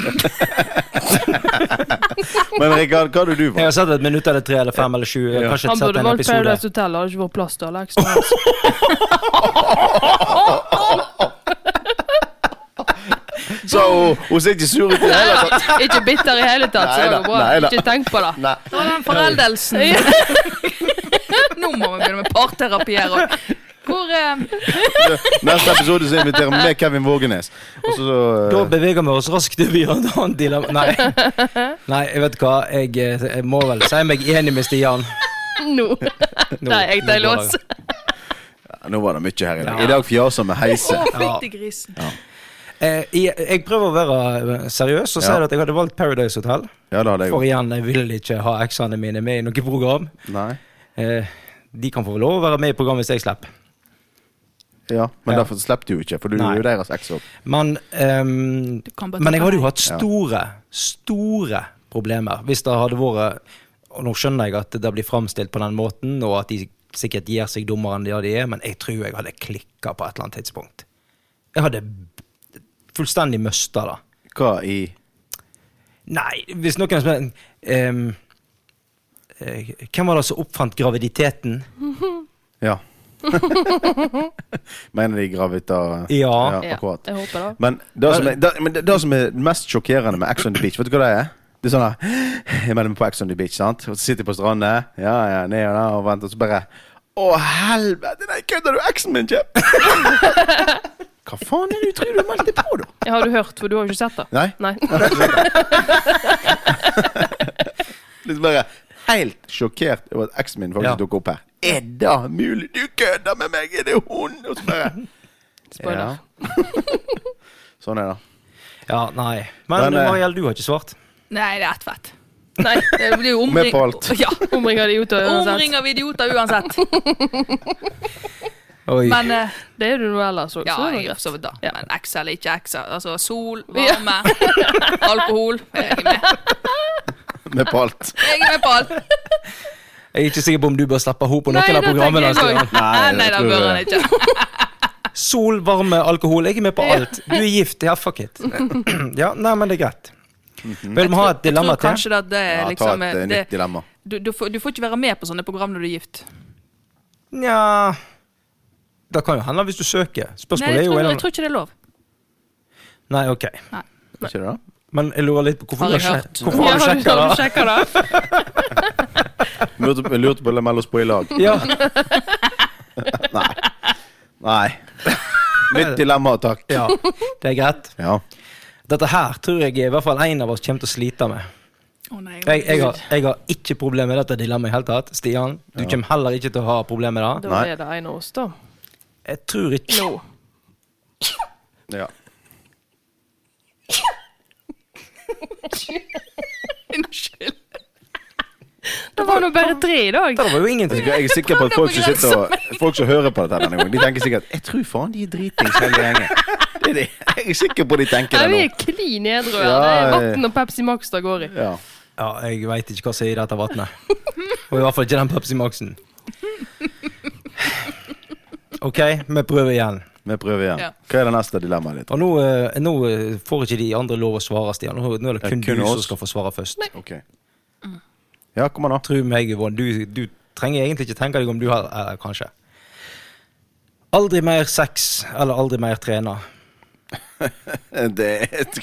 Speaker 2: Rikard, hva hadde du
Speaker 1: Jeg
Speaker 2: valgt?
Speaker 1: har sett et minutt eller tre eller fem eller sju. Jeg har kanskje
Speaker 4: Han
Speaker 1: sett
Speaker 4: burde
Speaker 1: en
Speaker 4: valgt
Speaker 1: episode.
Speaker 4: Paradise Hotel, det hadde ikke vært plass til alle eksene hans.
Speaker 2: Så hun, hun ser ikke sur ut i det hele tatt.
Speaker 4: Ikke bitter i hele tatt, så det går bra.
Speaker 2: Nei da.
Speaker 4: Ikke tenk på det.
Speaker 2: Nei.
Speaker 3: Det var den foreldelsen. Nå må vi begynne med parterapi her òg. Hvor eh,
Speaker 2: Neste episode så inviterer vi med Kevin Vågenes. Og
Speaker 1: Da
Speaker 2: så, så, eh,
Speaker 1: beveger vi oss raskt over i et annet dilemma. Nei. Nei, jeg vet hva. Jeg, eh, jeg må vel si meg enig med Stian.
Speaker 4: Nå. Nei, jeg
Speaker 1: nå
Speaker 4: tar
Speaker 1: går
Speaker 4: lås.
Speaker 1: det.
Speaker 2: nå var det mye her i dag.
Speaker 1: Ja.
Speaker 2: I dag fjaser vi heise.
Speaker 3: Å, fytti grisen.
Speaker 1: Eh, jeg, jeg prøver å være eh, seriøs og
Speaker 2: Ja.
Speaker 1: sier at jeg hadde valgt Paradise Hotel.
Speaker 2: Ja, det hadde jeg
Speaker 1: For
Speaker 2: òg.
Speaker 1: igjen, jeg vil ikke ha eksene mine med i noe program.
Speaker 2: Nei.
Speaker 1: Eh, de kan få lov å være med i programmet hvis jeg slipper.
Speaker 2: Ja, men
Speaker 1: Ja.
Speaker 2: derfor slapp du jo ikke, for du
Speaker 1: Nei.
Speaker 2: er jo deres eks òg.
Speaker 1: Men, ehm,
Speaker 3: Du kan bare ta
Speaker 1: men jeg hadde jo
Speaker 3: meg.
Speaker 1: hatt store, store problemer hvis det hadde vært Og nå skjønner jeg at det blir framstilt på den måten, og at de sikkert gir seg dummere enn det de er, men jeg tror jeg hadde klikka på et eller annet tidspunkt. Jeg hadde b- fullstendig mista det.
Speaker 2: Hva i
Speaker 1: Nei, hvis noen spør ehm, eh, Hvem var det som oppfant graviditeten?
Speaker 2: Ja. Mener de gravita
Speaker 1: Ja.
Speaker 4: Ja,
Speaker 2: akkurat.
Speaker 4: jeg håper det.
Speaker 2: Men det som er, det, men det, det som er mest sjokkerende med Ex on the Beach, vet du hva det er? Det er sånn her Jeg melder meg på Ex on the Beach, sant? Og så sitter jeg på stranda, ja, ja, ned og der, og venter, og så bare Å, helvete! Nei, kødder du? Eksen min kommer! hva faen er det du tror du meldte på, da?
Speaker 4: Jeg har du hørt, for du har jo ikke sett det.
Speaker 2: Nei.
Speaker 4: Nei.
Speaker 2: Litt bare helt sjokkert over at eksen min faktisk
Speaker 1: Ja.
Speaker 2: dukket opp her. Er det mulig? Du kødder med meg! Er det hun? Og så bare
Speaker 4: Spoiler.
Speaker 2: sånn er det.
Speaker 1: Ja, nei. Men,
Speaker 2: Men, eh,
Speaker 1: Marielle, du har ikke svart.
Speaker 3: Nei, det er ett fett.
Speaker 4: Nei.
Speaker 3: Det blir jo
Speaker 2: Med
Speaker 3: omring...
Speaker 2: på alt.
Speaker 3: Ja.
Speaker 4: Omringer de ut av uansett.
Speaker 3: Omring av idioter uansett.
Speaker 1: Oi.
Speaker 3: Men eh,
Speaker 4: Det er du nå ellers òg,
Speaker 3: ja,
Speaker 4: så det
Speaker 3: jeg
Speaker 4: er
Speaker 3: er
Speaker 4: greit.
Speaker 3: for så vidt da.
Speaker 4: Ja.
Speaker 3: Men X eller ikke X. Altså sol, varme, alkohol. Jeg er med.
Speaker 2: Med på alt.
Speaker 3: Jeg er med på alt.
Speaker 1: Jeg er ikke sikker på om du bør slippe henne på noen
Speaker 4: Nei,
Speaker 1: av
Speaker 4: det
Speaker 1: programmene.
Speaker 4: tenker jeg
Speaker 1: Stian.
Speaker 4: sånn. også.
Speaker 2: Nei, det
Speaker 3: Nei, det
Speaker 2: tror eh,
Speaker 3: bør
Speaker 2: jeg.
Speaker 3: han ikke.
Speaker 1: Sol, varme, alkohol. Jeg er med på alt. Du er gift. Ja, fuck it. Ja, nei, men det er greit. Vil vi ha et
Speaker 3: Jeg
Speaker 1: dilemma
Speaker 3: tror
Speaker 1: til?
Speaker 3: kanskje at det er
Speaker 2: Ja, ta
Speaker 3: liksom
Speaker 2: et eh,
Speaker 3: eh,
Speaker 2: nytt
Speaker 3: det,
Speaker 2: dilemma.
Speaker 3: du, du, får, du får ikke være med på sånne program når du er gift.
Speaker 1: Nja Det kan jo hende hvis du søker.
Speaker 3: Nei,
Speaker 1: Spørsmålet er
Speaker 3: jeg
Speaker 1: jo
Speaker 3: tror, jeg
Speaker 1: en
Speaker 3: tror ikke det er lov.
Speaker 1: Nei, ok.
Speaker 2: Ikke det, da?
Speaker 1: Men jeg lurer litt på hvorfor
Speaker 3: Har
Speaker 1: du
Speaker 3: jeg
Speaker 1: har
Speaker 3: hørt?
Speaker 1: sjek- hvorfor har du
Speaker 4: Ja,
Speaker 1: sjekka
Speaker 4: har
Speaker 1: det?
Speaker 4: du sjekket det?
Speaker 2: Vi Lurte, vi lurte på å melde oss på i lag.
Speaker 1: Ja.
Speaker 2: Nei. Nytt dilemma, takk.
Speaker 1: ja, det er greit.
Speaker 2: Ja.
Speaker 1: Dette her tror jeg i hvert fall en av oss kommer til å slite med.
Speaker 3: Å, nei,
Speaker 1: Jeg, jeg, har, jeg har ikke problemer med dette dilemmaet i det hele tatt. Stian, du kommer heller ikke til å ha problemer med det.
Speaker 4: Da
Speaker 2: Nei.
Speaker 4: er det en av oss, da.
Speaker 1: Jeg tror ikke
Speaker 4: Nå.
Speaker 2: ja.
Speaker 3: Unnskyld.
Speaker 4: Det var nå bare tre i dag.
Speaker 1: Det var jo ingenting.
Speaker 2: Jeg er sikker på at folk som, sitter og, folk som hører på dette her denne gangen, de tenker sikkert Jeg tror faen de er dritings hele gjengen. Det er de. Jeg er sikker på de tenker det
Speaker 4: Nei, vi
Speaker 2: nå.
Speaker 4: er klin edru. her.
Speaker 2: Ja,
Speaker 4: Det er
Speaker 2: ja.
Speaker 4: vann og Pepsi Max det går i.
Speaker 2: Ja.
Speaker 1: Ja, jeg veit ikke hva som er i dette vannet. Og i hvert fall ikke den Pepsi Maxen. OK, vi prøver igjen.
Speaker 2: Vi prøver igjen.
Speaker 3: Ja.
Speaker 2: Hva er det neste dilemmaet ditt?
Speaker 1: Og nå, eh, nå eh, får ikke de andre lov å svare, Stian. Nå, nå er det
Speaker 2: Ja,
Speaker 1: kun,
Speaker 2: kun
Speaker 1: du som
Speaker 2: oss.
Speaker 1: skal få svare først.
Speaker 2: Ok.
Speaker 3: Mm.
Speaker 2: Ja, kom an, da.
Speaker 1: Tro meg, Yvonne, du, du trenger egentlig ikke tenke deg om du har eh, Kanskje. Aldri mer sex eller aldri mer trene.
Speaker 2: Det er et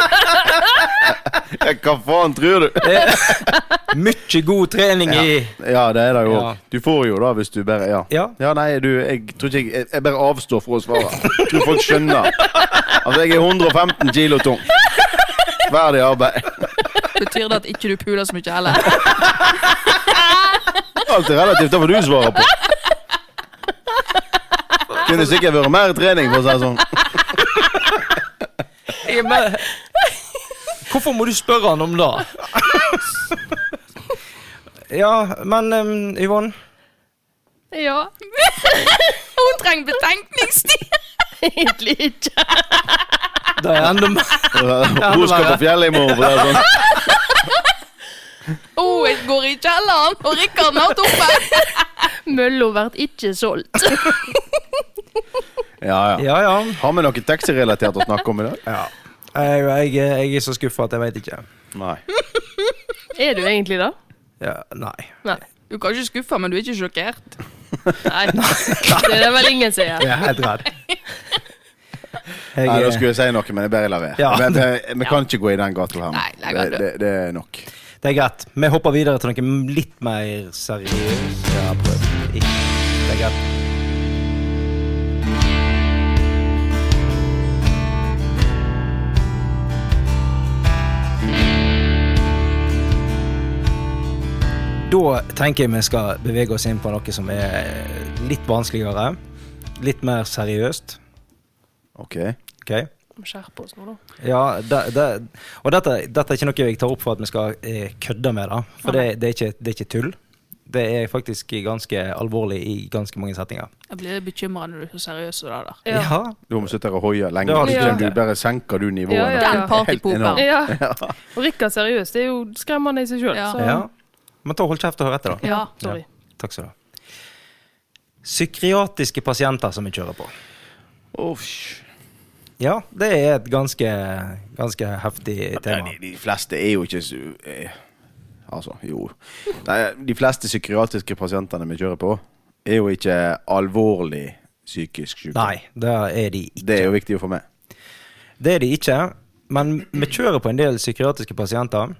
Speaker 2: Ja, Hva faen tror du?
Speaker 1: Mye god trening i
Speaker 2: Ja, det er det jo.
Speaker 1: Ja.
Speaker 2: Du får jo da hvis du bare Ja.
Speaker 1: Ja.
Speaker 2: nei, du, jeg tror ikke jeg jeg- Jeg bare avstår fra å svare. Jeg tror folk skjønner. Altså, jeg er 115 kilo tung. Verdig arbeid.
Speaker 3: Betyr det at ikke du puler så mye heller?
Speaker 2: Alt er relativt. Det får du svare på. Kunne sikkert vært mer trening, for å si det sånn.
Speaker 1: Jeg bare- Hvorfor må du spørre han om det? ja, men em, Yvonne
Speaker 4: Ja,
Speaker 3: Hun trenger betenkningstid!
Speaker 4: egentlig ikke.
Speaker 1: Det er enda mer
Speaker 2: Hun skal på fjellet i morgen, for å si det sånn.
Speaker 3: Å, jeg går i kjelleren, og Rikard har vært oppe!
Speaker 4: Mølla blir ikke solgt.
Speaker 2: Ja, ja.
Speaker 1: Ja, ja.
Speaker 2: Har vi noe taxirelatert å snakke om i dag?
Speaker 1: Jeg, jeg, jeg er så skuffa at jeg veit ikke.
Speaker 2: Nei.
Speaker 4: Er du egentlig det?
Speaker 1: Ja, nei.
Speaker 4: Nei.
Speaker 3: Du er kanskje skuffa, men du er ikke sjokkert.
Speaker 4: Nei. Det er det vel ingen som er.
Speaker 1: Jeg er helt redd. Jeg,
Speaker 2: Nei, da
Speaker 1: eh,
Speaker 2: skulle jeg si noe, men jeg bare lar være.
Speaker 1: Ja.
Speaker 2: Men eh, Vi vi kan ikke gå i den gata her. nå.
Speaker 3: Nei, nei, men
Speaker 2: det,
Speaker 3: du-
Speaker 2: det, det er nok.
Speaker 1: Det er greit. Vi hopper videre til noe litt mer seriøst. Ja, prøv. Ikke. Det er greit. Da tenker jeg vi skal bevege oss inn på noe som er litt vanskeligere. Litt mer seriøst.
Speaker 2: Ok.
Speaker 1: ok?
Speaker 4: Vi må skjerpe oss nå, da.
Speaker 1: Ja, det, det, og dette, dette er ikke noe jeg tar opp for at vi skal eh, kødde med det. For det, det, er ikke, det er ikke tull. Det er faktisk ganske alvorlig i ganske mange setninger.
Speaker 3: Jeg blir bekymra når du er så seriøs som det der.
Speaker 4: Ja.
Speaker 2: Du må slutte å hoie lenge.
Speaker 1: Det har
Speaker 4: du
Speaker 2: Ikke
Speaker 4: ikke.
Speaker 2: Du bare senker du nivået.
Speaker 4: Ja, ja,
Speaker 2: nå.
Speaker 4: ja.
Speaker 3: Den partypooperen.
Speaker 2: Helt enormt.
Speaker 4: Ja. Og Rikard seriøst, det er jo skremmende i seg sjøl.
Speaker 3: Ja.
Speaker 4: Så
Speaker 1: ja. Men ta hold kjeft og hør etter, da.
Speaker 3: Ja.
Speaker 4: sorry.
Speaker 1: Takk skal du ha. Psykiatriske pasienter som vi kjører på.
Speaker 2: Uff.
Speaker 1: Ja, det er et ganske, ganske heftig tema.
Speaker 2: Nei, de, de fleste er jo ikke su- eh, Altså, jo. Nei, de fleste psykiatriske pasientene vi kjører på, er jo ikke alvorlig psykisk syke.
Speaker 1: Nei, det er de ikke.
Speaker 2: Det er jo viktig å få med.
Speaker 1: Det er de ikke, men vi kjører på en del psykiatriske pasienter.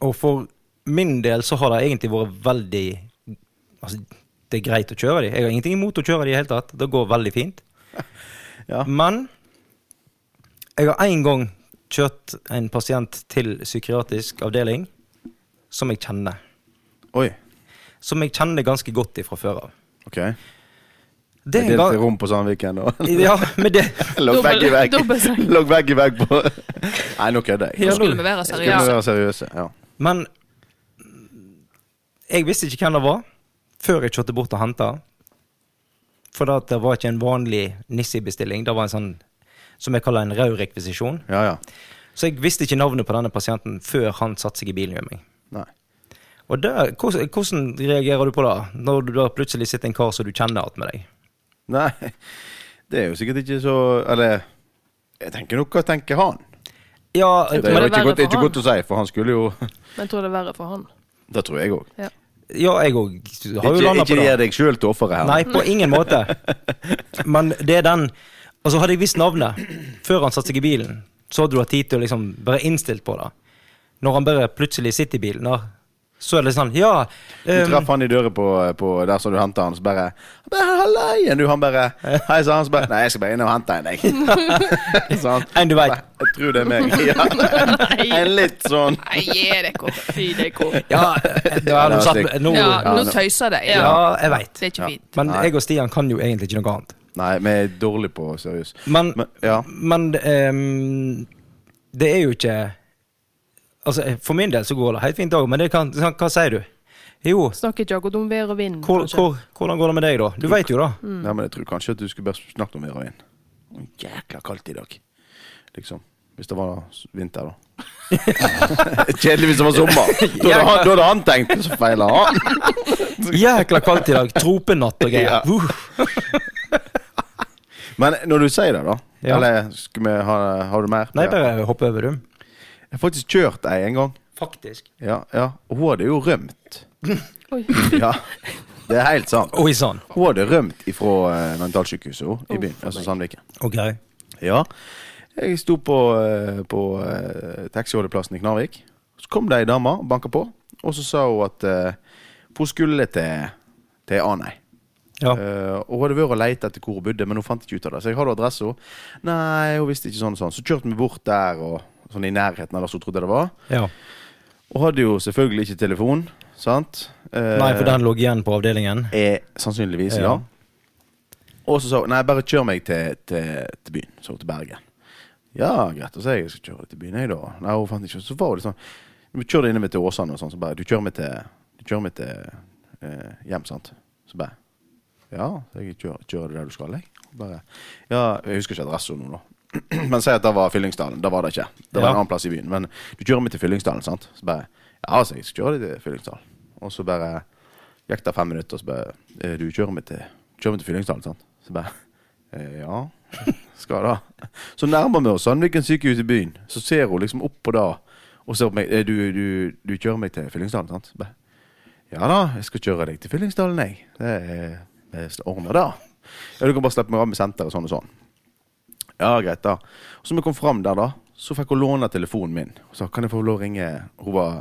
Speaker 1: Og for min del så har det egentlig vært veldig Altså, det er greit å kjøre de. Jeg har ingenting imot å kjøre de i det hele tatt. Det går veldig fint.
Speaker 2: Ja.
Speaker 1: Men jeg har én gang kjørt en pasient til psykiatrisk avdeling som jeg kjenner.
Speaker 2: Oi.
Speaker 1: Som jeg kjenner ganske godt ifra før av.
Speaker 2: Ok. Det
Speaker 1: Det er
Speaker 2: er
Speaker 1: en
Speaker 2: delte
Speaker 1: gang
Speaker 2: rom på Sandviken, da.
Speaker 1: Ja, men det
Speaker 2: Lå
Speaker 4: Dobbel-
Speaker 2: begge i vegg.
Speaker 4: dobbeltseng.
Speaker 2: Lå begge i vegg på Nei, nå kødder jeg.
Speaker 1: Ja,
Speaker 3: Nå
Speaker 1: nå-
Speaker 3: skulle vi være
Speaker 2: Skal vi
Speaker 3: seriøse.
Speaker 2: være seriøse? Ja.
Speaker 1: Men jeg visste ikke hvem det var før jeg kjørte bort og henta. For det, at det var ikke en vanlig Nissi-bestilling. Det var en sånn som jeg kaller en rød rekvisisjon.
Speaker 2: ja, ja.
Speaker 1: Så jeg visste ikke navnet på denne pasienten før han satte seg i bilen med meg.
Speaker 2: Nei.
Speaker 1: Og der, hvordan, hvordan reagerer du på det, når du da plutselig sitter en kar som du kjenner igjen med deg?
Speaker 2: Nei. Det er jo sikkert ikke så Eller jeg tenker nok hva tenker han.
Speaker 1: Ja,
Speaker 2: Det er jo
Speaker 4: tror det
Speaker 2: ikke
Speaker 4: er verre
Speaker 2: godt,
Speaker 4: for
Speaker 2: ikke
Speaker 4: han.
Speaker 2: godt å si, for han skulle jo
Speaker 4: Men jeg tror det er verre for han.
Speaker 2: Det tror jeg òg.
Speaker 1: ja jeg òg har jo
Speaker 2: Ikke,
Speaker 1: landa
Speaker 2: ikke
Speaker 1: på det.
Speaker 2: gjør deg sjøl til offeret her.
Speaker 1: Nei, på ingen måte. Men det er den Altså Hadde jeg visst navnet før han satte seg i bilen, så hadde du hatt tid til å liksom være innstilt på det. Når han bare plutselig sitter i bilen, da, så er det sånn Ja.
Speaker 2: Du
Speaker 1: ehm,
Speaker 2: traff han i døra på, på der som du henta han, så bare han bare, 'Hallaien, du.' Han bare 'Hei', sa han. Så bare 'Nei, jeg skal bare inn og hente en, jeg'. Sånn.
Speaker 1: enn du veit.
Speaker 2: Jeg tror det er meg. Ja. En litt sånn
Speaker 3: Nei, gi deg opp. Fy deg opp.
Speaker 1: Ja, det var noe satt, nå,
Speaker 3: Ja,
Speaker 1: ja,
Speaker 3: nå
Speaker 2: nå-
Speaker 3: tøyser det. Ja.
Speaker 1: jeg veit.
Speaker 3: Det er ikke fint.
Speaker 1: Men
Speaker 2: Nei.
Speaker 1: jeg og Stian kan jo egentlig ikke noe annet.
Speaker 2: Nei, vi er dårlige på seriøs.
Speaker 1: Men,
Speaker 2: Men, ja.
Speaker 1: men ehm, det er jo ikke Altså, For min del så går det helt fint òg, men det kan, sånn, hva sier du? Jo,
Speaker 4: Snakker ikke akkurat om vær og vind.
Speaker 1: hvor,
Speaker 4: kanskje.
Speaker 1: hvor, hvordan går det med deg, da? Du veit jo det.
Speaker 2: Nei, men jeg tror kanskje at du skulle bare snakket om heroin. Å, Jækla kaldt i dag. Liksom. Hvis det var s- vinter, da. Kjedelig hvis det var sommer. Da hadde han, da hadde han tenkt, og så feila han.
Speaker 1: Jækla kaldt i dag. Tropenatt og greier.
Speaker 2: Ja.
Speaker 1: Uh.
Speaker 2: Men når du sier det, da
Speaker 1: Ja.
Speaker 2: Eller skal vi ha, har du mer? på
Speaker 1: Nei,
Speaker 2: det?
Speaker 1: bare hopp over, du.
Speaker 2: Jeg har faktisk kjørt ei en gang.
Speaker 1: Faktisk.
Speaker 2: Ja, ja. Og hun hadde jo rømt.
Speaker 4: Oi.
Speaker 2: Ja, det er helt sant.
Speaker 1: Oi sånn. sann.
Speaker 2: Hun hadde rømt ifra eh, mentalsykehuset hun, i byen, altså Sandviken.
Speaker 1: Ok.
Speaker 2: Ja. Jeg sto på, eh, på eh, taxiholdeplassen i Knarvik. Så kom det ei dame og banka på, og så sa hun at eh, hun skulle til, til Anei.
Speaker 1: Ja.
Speaker 2: Eh, og hun hadde vært og lett etter hvor hun bodde, men hun fant ikke ut av det. Så jeg hadde adressa. Nei, hun visste ikke sånn og sånn. Så kjørte vi bort der, og sånn i nærheten av der som hun trodde det var.
Speaker 1: ja.
Speaker 2: Eh, Og hadde jo selvfølgelig ikke telefon, sant? Eh,
Speaker 1: Nei, for den lå igjen på avdelingen.
Speaker 2: er Eh, sannsynligvis,
Speaker 1: Ja.
Speaker 2: ja. Og så sa hun nei, bare kjør meg til, til, til byen. Så til Bergen. Ja, greit. Og så jeg skal kjøre deg til byen, jeg, da. Nei, hun fant ikke Så var det sånn Vi kjører deg innover til Åsane, og sånn, så bare Du kjører meg til, du kjører meg til eh, hjem, sant? Så bare Ja, så jeg kjører, kjører deg der du skal, jeg. Og Bare, ja, jeg husker ikke adressa nå, da. Men si at det var Fyllingsdalen. Det var det ikke. Det var
Speaker 1: Ja.
Speaker 2: en annen plass i byen. Men du kjører meg til Fyllingsdalen, sant? Så bare Ja, altså, jeg skal kjøre deg til Fyllingsdalen. Og så bare gikk det fem minutter, og så bare «Eh, Du kjører meg til, kjører meg til Fyllingsdalen, sant? Så bare «Eh, Ja, skal da. Så nærmer vi oss Sandviken sykehus i byen. Så ser hun liksom opp på det og ser på meg. «Eh, Du, du, du kjører meg til Fyllingsdalen, sant? Så bare ja da, jeg skal kjøre deg til Fyllingsdalen, jeg. Det er- det ordner det. Ja, du kan bare slippe meg av med senter og sånn og sånn. Ja, greit da. Og så vi kom fram der, da, så fikk hun låne telefonen min. Og sa kan jeg få lov å ringe Hun var,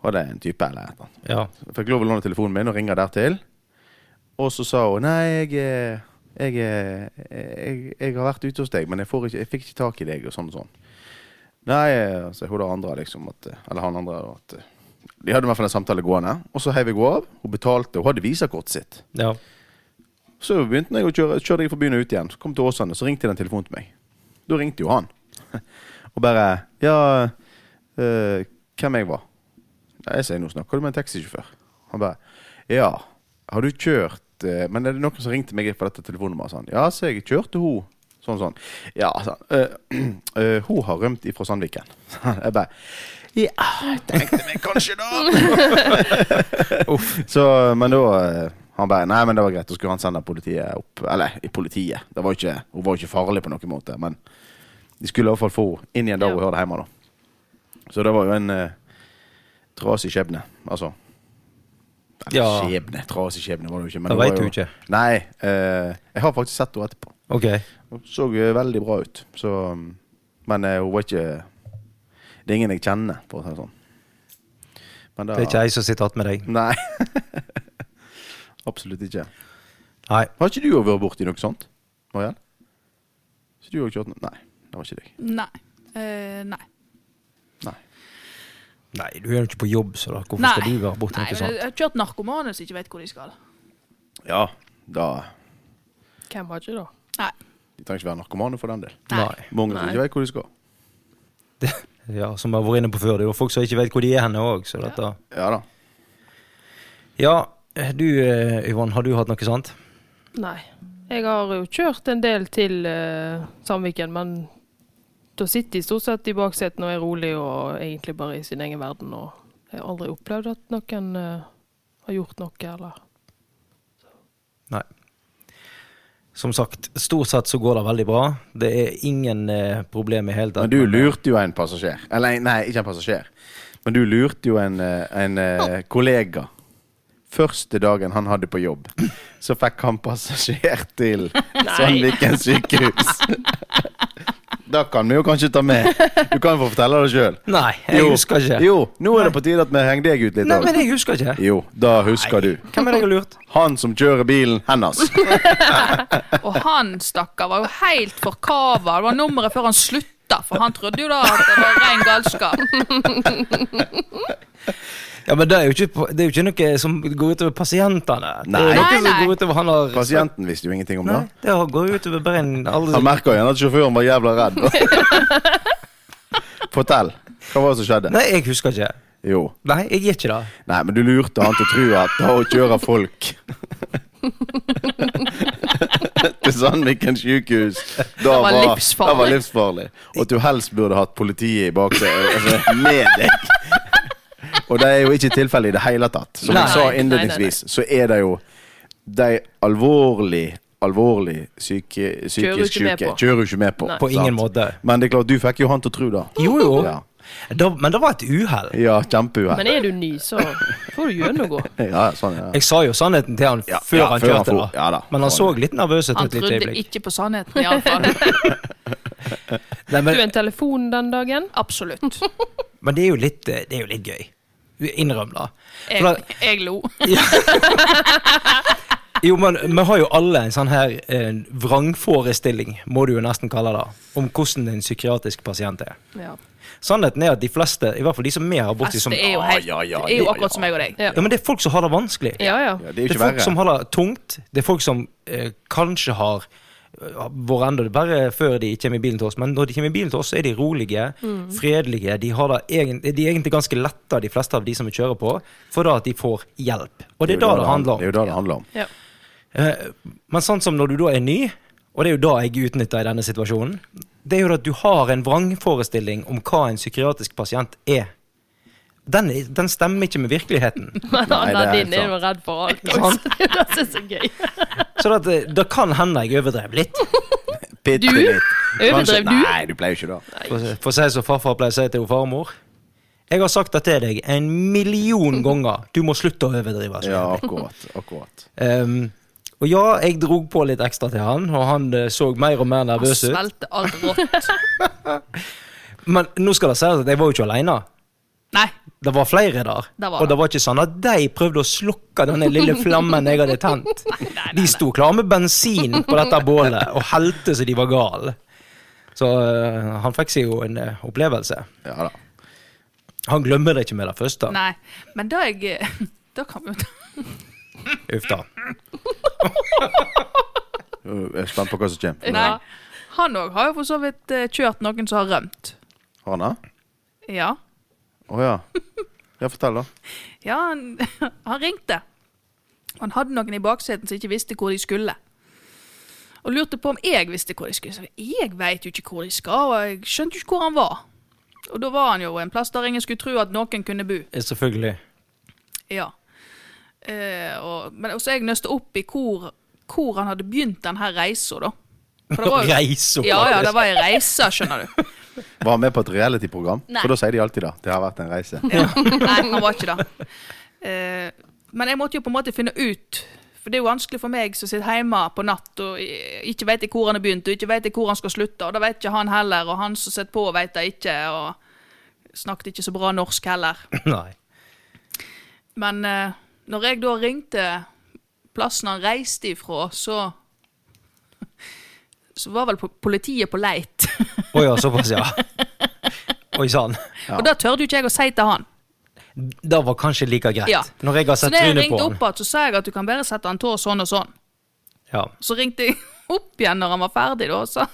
Speaker 2: var det en type eller et eller annet.
Speaker 1: Ja.
Speaker 2: Så Fikk lov å låne telefonen min og ringe dertil. Og så sa hun nei, jeg, er- jeg, er- jeg, jeg har vært ute hos deg, men jeg, får ikke, jeg fikk ikke tak i deg, og sånn og sånn. Nei, eh, så hun det andre, liksom, at, eh, eller han andre, at eh, de hadde i hvert fall en samtale gående. Og så heiv jeg henne av. Hun betalte, hun hadde visakortet sitt.
Speaker 1: ja.
Speaker 2: Så begynte jeg å kjøre, kjørte jeg fra byen og ut igjen. Så kom jeg til Åsane, så ringte den telefonen til meg. Da ringte jo han. Og bare Ja, eh, hvem jeg var? Nei, jeg sier nå snakker du med en taxisjåfør. Han bare Ja, har du kjørt eh, Men er det noen som ringte meg på dette telefonnummeret? Sånn. Ja, så jeg kjørte hun. Sånn, sånn. Ja, sånn. «Eh, eh, hun har rømt ifra Sandviken. Jeg bare Ja, jeg tenkte meg kanskje da. Så, men da eh, Han bare Nei, men det var greit. Da skulle han sende politiet opp. Eller, i politiet. Det var ikke, hun var ikke farlig på noen måte, men de skulle i hvert fall få henne inn igjen da hun
Speaker 3: Ja.
Speaker 2: hørte hjemme, da. Så det var jo en eh, trasig skjebne. Altså Eller,
Speaker 1: Ja.
Speaker 2: Skjebne, trasig skjebne var det jo ikke. Men
Speaker 1: Det
Speaker 2: var
Speaker 1: vet
Speaker 2: jo-
Speaker 1: du ikke.
Speaker 2: Nei. eh, jeg har faktisk sett henne etterpå.
Speaker 1: Ok.
Speaker 2: Hun så eh, veldig bra ut. Så, mm, men eh, hun var ikke Det er ingen jeg kjenner, for å si det sånn. Men da-
Speaker 1: Det er ikke jeg som sitter igjen med deg.
Speaker 2: Nei. Absolutt ikke.
Speaker 1: Nei.
Speaker 2: Har ikke du også vært borti noe sånt? Mariann? Så du har kjørt noe? Nei, det var ikke deg.
Speaker 3: Nei. Eh, nei.
Speaker 2: Nei.
Speaker 1: Nei, du er jo ikke på jobb, så da. hvorfor
Speaker 3: nei.
Speaker 1: skal du være borti
Speaker 3: Nei,
Speaker 1: noe
Speaker 3: men
Speaker 1: sånt?
Speaker 3: Jeg har kjørt narkomane som ikke vet hvor de skal.
Speaker 2: Ja, da
Speaker 4: Hvem har ikke det?
Speaker 3: Nei.
Speaker 2: De trenger ikke være narkomane for den del.
Speaker 3: Nei.
Speaker 2: Mange som ikke vet hvor de skal.
Speaker 1: Ja, som jeg har vært inne på før, det er jo folk som ikke vet hvor de er henne òg, så dette
Speaker 2: Ja da.
Speaker 1: Ja, du eh, Yvonne, har du hatt noe sånt?
Speaker 4: Nei. Jeg har jo kjørt en del til eh, Sandviken, men da sitter de stort sett i baksetet og er rolig og egentlig bare i sin egen verden. Og jeg har aldri opplevd at noen eh, har gjort noe, eller
Speaker 1: Nei. Som sagt, stort sett så går det veldig bra. Det er ingen eh, problem i hele tatt.
Speaker 2: Men du lurte jo en passasjer. Eller nei, ikke en passasjer. Men du lurte jo en, eh, en eh, kollega. Første dagen han hadde på jobb, så fikk han passasjer til Sandviken sykehus. Da kan vi jo kanskje ta med. Du kan få fortelle det sjøl.
Speaker 1: Nei, jeg husker ikke.
Speaker 2: Jo, nå er det på tide at vi henger deg ut litt.
Speaker 1: Nei,
Speaker 2: av det.
Speaker 1: men jeg husker ikke.
Speaker 2: Jo, da husker du.
Speaker 1: Hvem er det jeg har lurt?
Speaker 2: Han som kjører bilen hennes.
Speaker 3: Og han, stakkar, var jo helt forkava. Det var nummeret før han slutta, for han trodde jo da at det var ren galskap.
Speaker 1: Ja, men det er jo ikke, det er jo ikke noe som går utover pasientene. Det
Speaker 2: Nei.
Speaker 1: er noe
Speaker 3: Nei,
Speaker 1: som
Speaker 3: nei.
Speaker 1: går utover han har
Speaker 2: Pasienten visste jo ingenting om det.
Speaker 1: Nei, det har- går jo utover bare en alle
Speaker 2: Han merka igjen at sjåføren var jævla redd. Fortell. Hva var det som skjedde?
Speaker 1: Nei, jeg husker ikke.
Speaker 2: Jo.
Speaker 1: Nei, jeg gjør ikke det.
Speaker 2: Nei, men du lurte han til å tro at det å kjøre folk til Sandviken sykehus da
Speaker 3: var
Speaker 2: var,
Speaker 3: livsfarlig.
Speaker 2: det var livsfarlig. Og at du helst burde hatt politiet i baksetet altså, med deg. Og det er jo ikke tilfellet i det hele tatt. Som
Speaker 1: Nei.
Speaker 2: jeg sa
Speaker 4: Nei, nei,
Speaker 2: innledningsvis, så er det jo de alvorlig, alvorlig syke,
Speaker 4: Kjører du
Speaker 2: psykisk
Speaker 4: ikke med
Speaker 2: syke
Speaker 4: på.
Speaker 2: kjører jo ikke med på.
Speaker 4: Nei.
Speaker 1: På ingen
Speaker 2: sant?
Speaker 1: måte.
Speaker 2: Men det er klart, du fikk jo han til å tro det.
Speaker 1: Jo, jo.
Speaker 2: Ja,
Speaker 1: Da, men det var et uhell.
Speaker 2: ja kjempeuhell.
Speaker 4: Men er du ny, så får du gjennomgå.
Speaker 2: Ja, sånn, ja.
Speaker 1: Jeg sa jo sannheten til han
Speaker 2: Ja,
Speaker 1: før
Speaker 2: ja,
Speaker 1: han
Speaker 2: før han
Speaker 1: kjørte,
Speaker 2: for-
Speaker 1: da.
Speaker 2: ja da.
Speaker 1: Men han så litt nervøs ut
Speaker 3: Han
Speaker 1: et lite
Speaker 3: trodde
Speaker 1: øyeblikk.
Speaker 3: ikke på sannheten, iallfall.
Speaker 1: Nei,
Speaker 4: Du
Speaker 1: men,
Speaker 4: en telefon den dagen?
Speaker 3: Absolutt.
Speaker 1: men det er jo litt, eh, det er jo litt gøy. Innrøm det. For da-
Speaker 3: Jeg, jeg lo.
Speaker 1: Jo, men vi har jo alle en sånn her eh, vrangforestilling, må du jo nesten kalle det, om hvordan en psykiatrisk pasient er.
Speaker 4: Ja.
Speaker 1: Sannheten er at de fleste, i hvert fall de som vi har borti
Speaker 3: Altså,
Speaker 1: som
Speaker 3: det er jo,
Speaker 2: Ja,
Speaker 3: helt,
Speaker 2: ja, ja,
Speaker 3: det er jo
Speaker 2: ja,
Speaker 3: akkurat
Speaker 2: ja.
Speaker 3: som meg og deg.
Speaker 4: Ja.
Speaker 1: Ja, men det er folk som har det vanskelig.
Speaker 4: Ja, ja.
Speaker 2: Ja,
Speaker 1: Det
Speaker 2: det er jo
Speaker 1: er
Speaker 2: ikke
Speaker 1: folk
Speaker 2: verre.
Speaker 1: som har det tungt. Det er folk som eh, kanskje har eh, vært enda verre før de kommer i bilen til oss, men når de kommer i bilen til oss, så er de rolige, fredelige. De, har det egen, de er egentlig ganske letta, de fleste av de som vi kjører på, for da at de får hjelp. Og det er
Speaker 2: jo
Speaker 1: da
Speaker 2: det
Speaker 1: det handler om.
Speaker 2: Det er jo det det handler om.
Speaker 4: Ja.
Speaker 1: Eh, Men sånn som når du da er ny, og det er jo da jeg utnytter i denne situasjonen, det er jo at du har en vrangforestilling om hva en psykiatrisk pasient er. Den, er- den stemmer ikke med virkeligheten.
Speaker 4: Men
Speaker 2: Nei, det er
Speaker 4: Nadine
Speaker 2: sant.
Speaker 4: er jo redd for alt.
Speaker 1: Sant.
Speaker 4: det synes jeg er gøy.
Speaker 1: Så det, at, eh, det kan hende jeg overdrev litt.
Speaker 2: Bitte
Speaker 4: Du?
Speaker 2: litt.
Speaker 4: Overdrev du?
Speaker 2: Nei, du pleier jo ikke det.
Speaker 1: For, for å si som farfar pleier å si til farmor. Jeg har sagt det til deg en million ganger. Du må slutte å overdrive. altså.
Speaker 2: Ja, akkurat. akkurat.
Speaker 1: Ehm, Og ja, jeg dro på litt ekstra til han, og han eh, så mer og mer
Speaker 3: Han
Speaker 1: nervøs ut.
Speaker 3: svelgte alt rått.
Speaker 1: Men nå skal det sies at jeg var jo ikke aleine.
Speaker 3: Nei.
Speaker 1: Det var flere der.
Speaker 3: Det var
Speaker 1: og
Speaker 3: det.
Speaker 1: det var ikke sånn at de prøvde å slukke denne lille flammen jeg hadde tent. De sto klar med bensin på dette bålet og helte så de var gale. Så eh, han fikk seg jo en eh, opplevelse.
Speaker 2: Ja da.
Speaker 1: Han glemmer det ikke med det første.
Speaker 3: Nei. Men da jeg Da kan vi jo ta
Speaker 1: Uff da.
Speaker 2: Jeg er spent på hva som kommer.
Speaker 3: Nei. Han òg har jo for så vidt eh, kjørt noen som har rømt.
Speaker 2: Har han det?
Speaker 3: Ja.
Speaker 2: Å ja. Ja, fortell, da.
Speaker 3: Ja, han, han ringte. Han hadde noen i bakseten som ikke visste hvor de skulle. Og lurte på om jeg visste hvor de skulle. Så jeg veit jo ikke hvor de skal, og jeg skjønte jo ikke hvor han var. Og da var han jo en plass der ingen skulle tro at noen kunne bo.
Speaker 1: Eh, Selvfølgelig.
Speaker 3: Ja. Eh, og, men også jeg nøste opp i hvor, hvor han hadde begynt denne reisa, da. For det var jo-
Speaker 1: Reise opp.
Speaker 3: Ja, ja, det var ei reise, skjønner du.
Speaker 2: Var han med på et reality-program?
Speaker 3: Nei.
Speaker 2: For da sier de alltid det. Det har vært en reise.
Speaker 3: Ja. Nei, han var ikke det. Eh, men jeg måtte jo på en måte finne ut. For det er jo vanskelig for meg som sitter hjemme på natt og i- ikke vet jeg hvor han har begynt, og ikke vet jeg hvor han skal slutte, og det vet ikke han heller, og han som sitter på, vet det ikke, og snakket ikke så bra norsk heller.
Speaker 1: Nei.
Speaker 3: Men eh, når jeg da ringte plassen han reiste ifra, så Så var vel po- politiet på leit.
Speaker 1: Å ja, såpass, ja. Oi sann.
Speaker 3: Og det tørde jo ikke jeg å si til han.
Speaker 1: Det var kanskje like greit.
Speaker 3: Ja.
Speaker 1: Når jeg har
Speaker 3: Så
Speaker 1: sett
Speaker 3: når jeg
Speaker 1: trynet på
Speaker 3: ringte
Speaker 1: han.
Speaker 3: opp igjen, så sa jeg at du kan bare sette han tå sånn og sånn.
Speaker 1: Ja.
Speaker 3: Så ringte jeg opp igjen når han var ferdig, da, og sa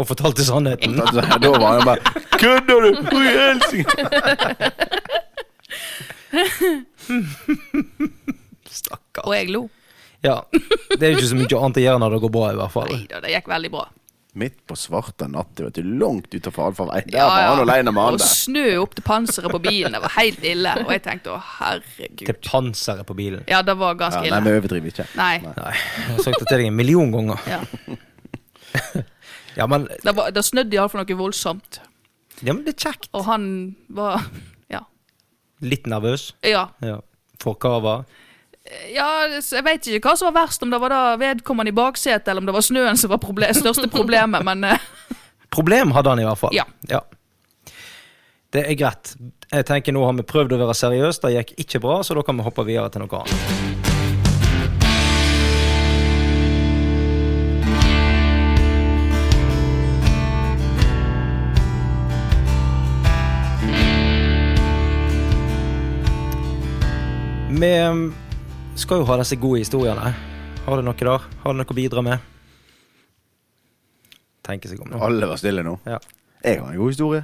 Speaker 1: Og fortalte sannheten.
Speaker 2: Da, da da var han jo bare Kødder du?! Hvor i helsike?!
Speaker 1: Stakkar.
Speaker 3: Og jeg lo.
Speaker 1: Ja. Det er jo ikke så mye annet å gjøre når det går bra, i hvert fall.
Speaker 3: Nei da, det gikk veldig bra.
Speaker 2: Midt på svarte natt, vet du. Langt utafor allfarvei. Der
Speaker 3: Ja,
Speaker 2: var
Speaker 3: ja.
Speaker 2: han alene med han
Speaker 3: Og
Speaker 2: der.
Speaker 3: snø opp til panseret på bilen. Det var helt ille. Og jeg tenkte å, herregud.
Speaker 1: Til panseret på bilen.
Speaker 3: Ja, det var
Speaker 2: Ja,
Speaker 3: ganske
Speaker 2: nei, vi
Speaker 3: ille.
Speaker 2: overdriver ikke.
Speaker 3: Nei.
Speaker 1: Nei, jeg har sagt det til deg en million ganger.
Speaker 3: Ja.
Speaker 1: Ja, men,
Speaker 3: Det, var, det snødde iallfall noe voldsomt.
Speaker 1: ja, men det er kjekt.
Speaker 3: Og han var Ja.
Speaker 1: Litt nervøs.
Speaker 3: Ja,
Speaker 1: Ja. For kava.
Speaker 3: ja så jeg veit ikke hva som var verst, om det var da vedkommende i baksetet, eller om det var snøen som var proble største problemet, men eh,
Speaker 1: Problem hadde han i hvert fall.
Speaker 3: Ja.
Speaker 1: Det er greit. Jeg tenker Nå har vi prøvd å være seriøse, det gikk ikke bra, så da kan vi hoppe videre til noe annet. Vi um, skal jo ha disse gode historiene. Har du noe der? Har du noe å bidra med? Tenke seg om nå.
Speaker 2: Alle var stille nå.
Speaker 1: Ja.
Speaker 2: Jeg har en god historie.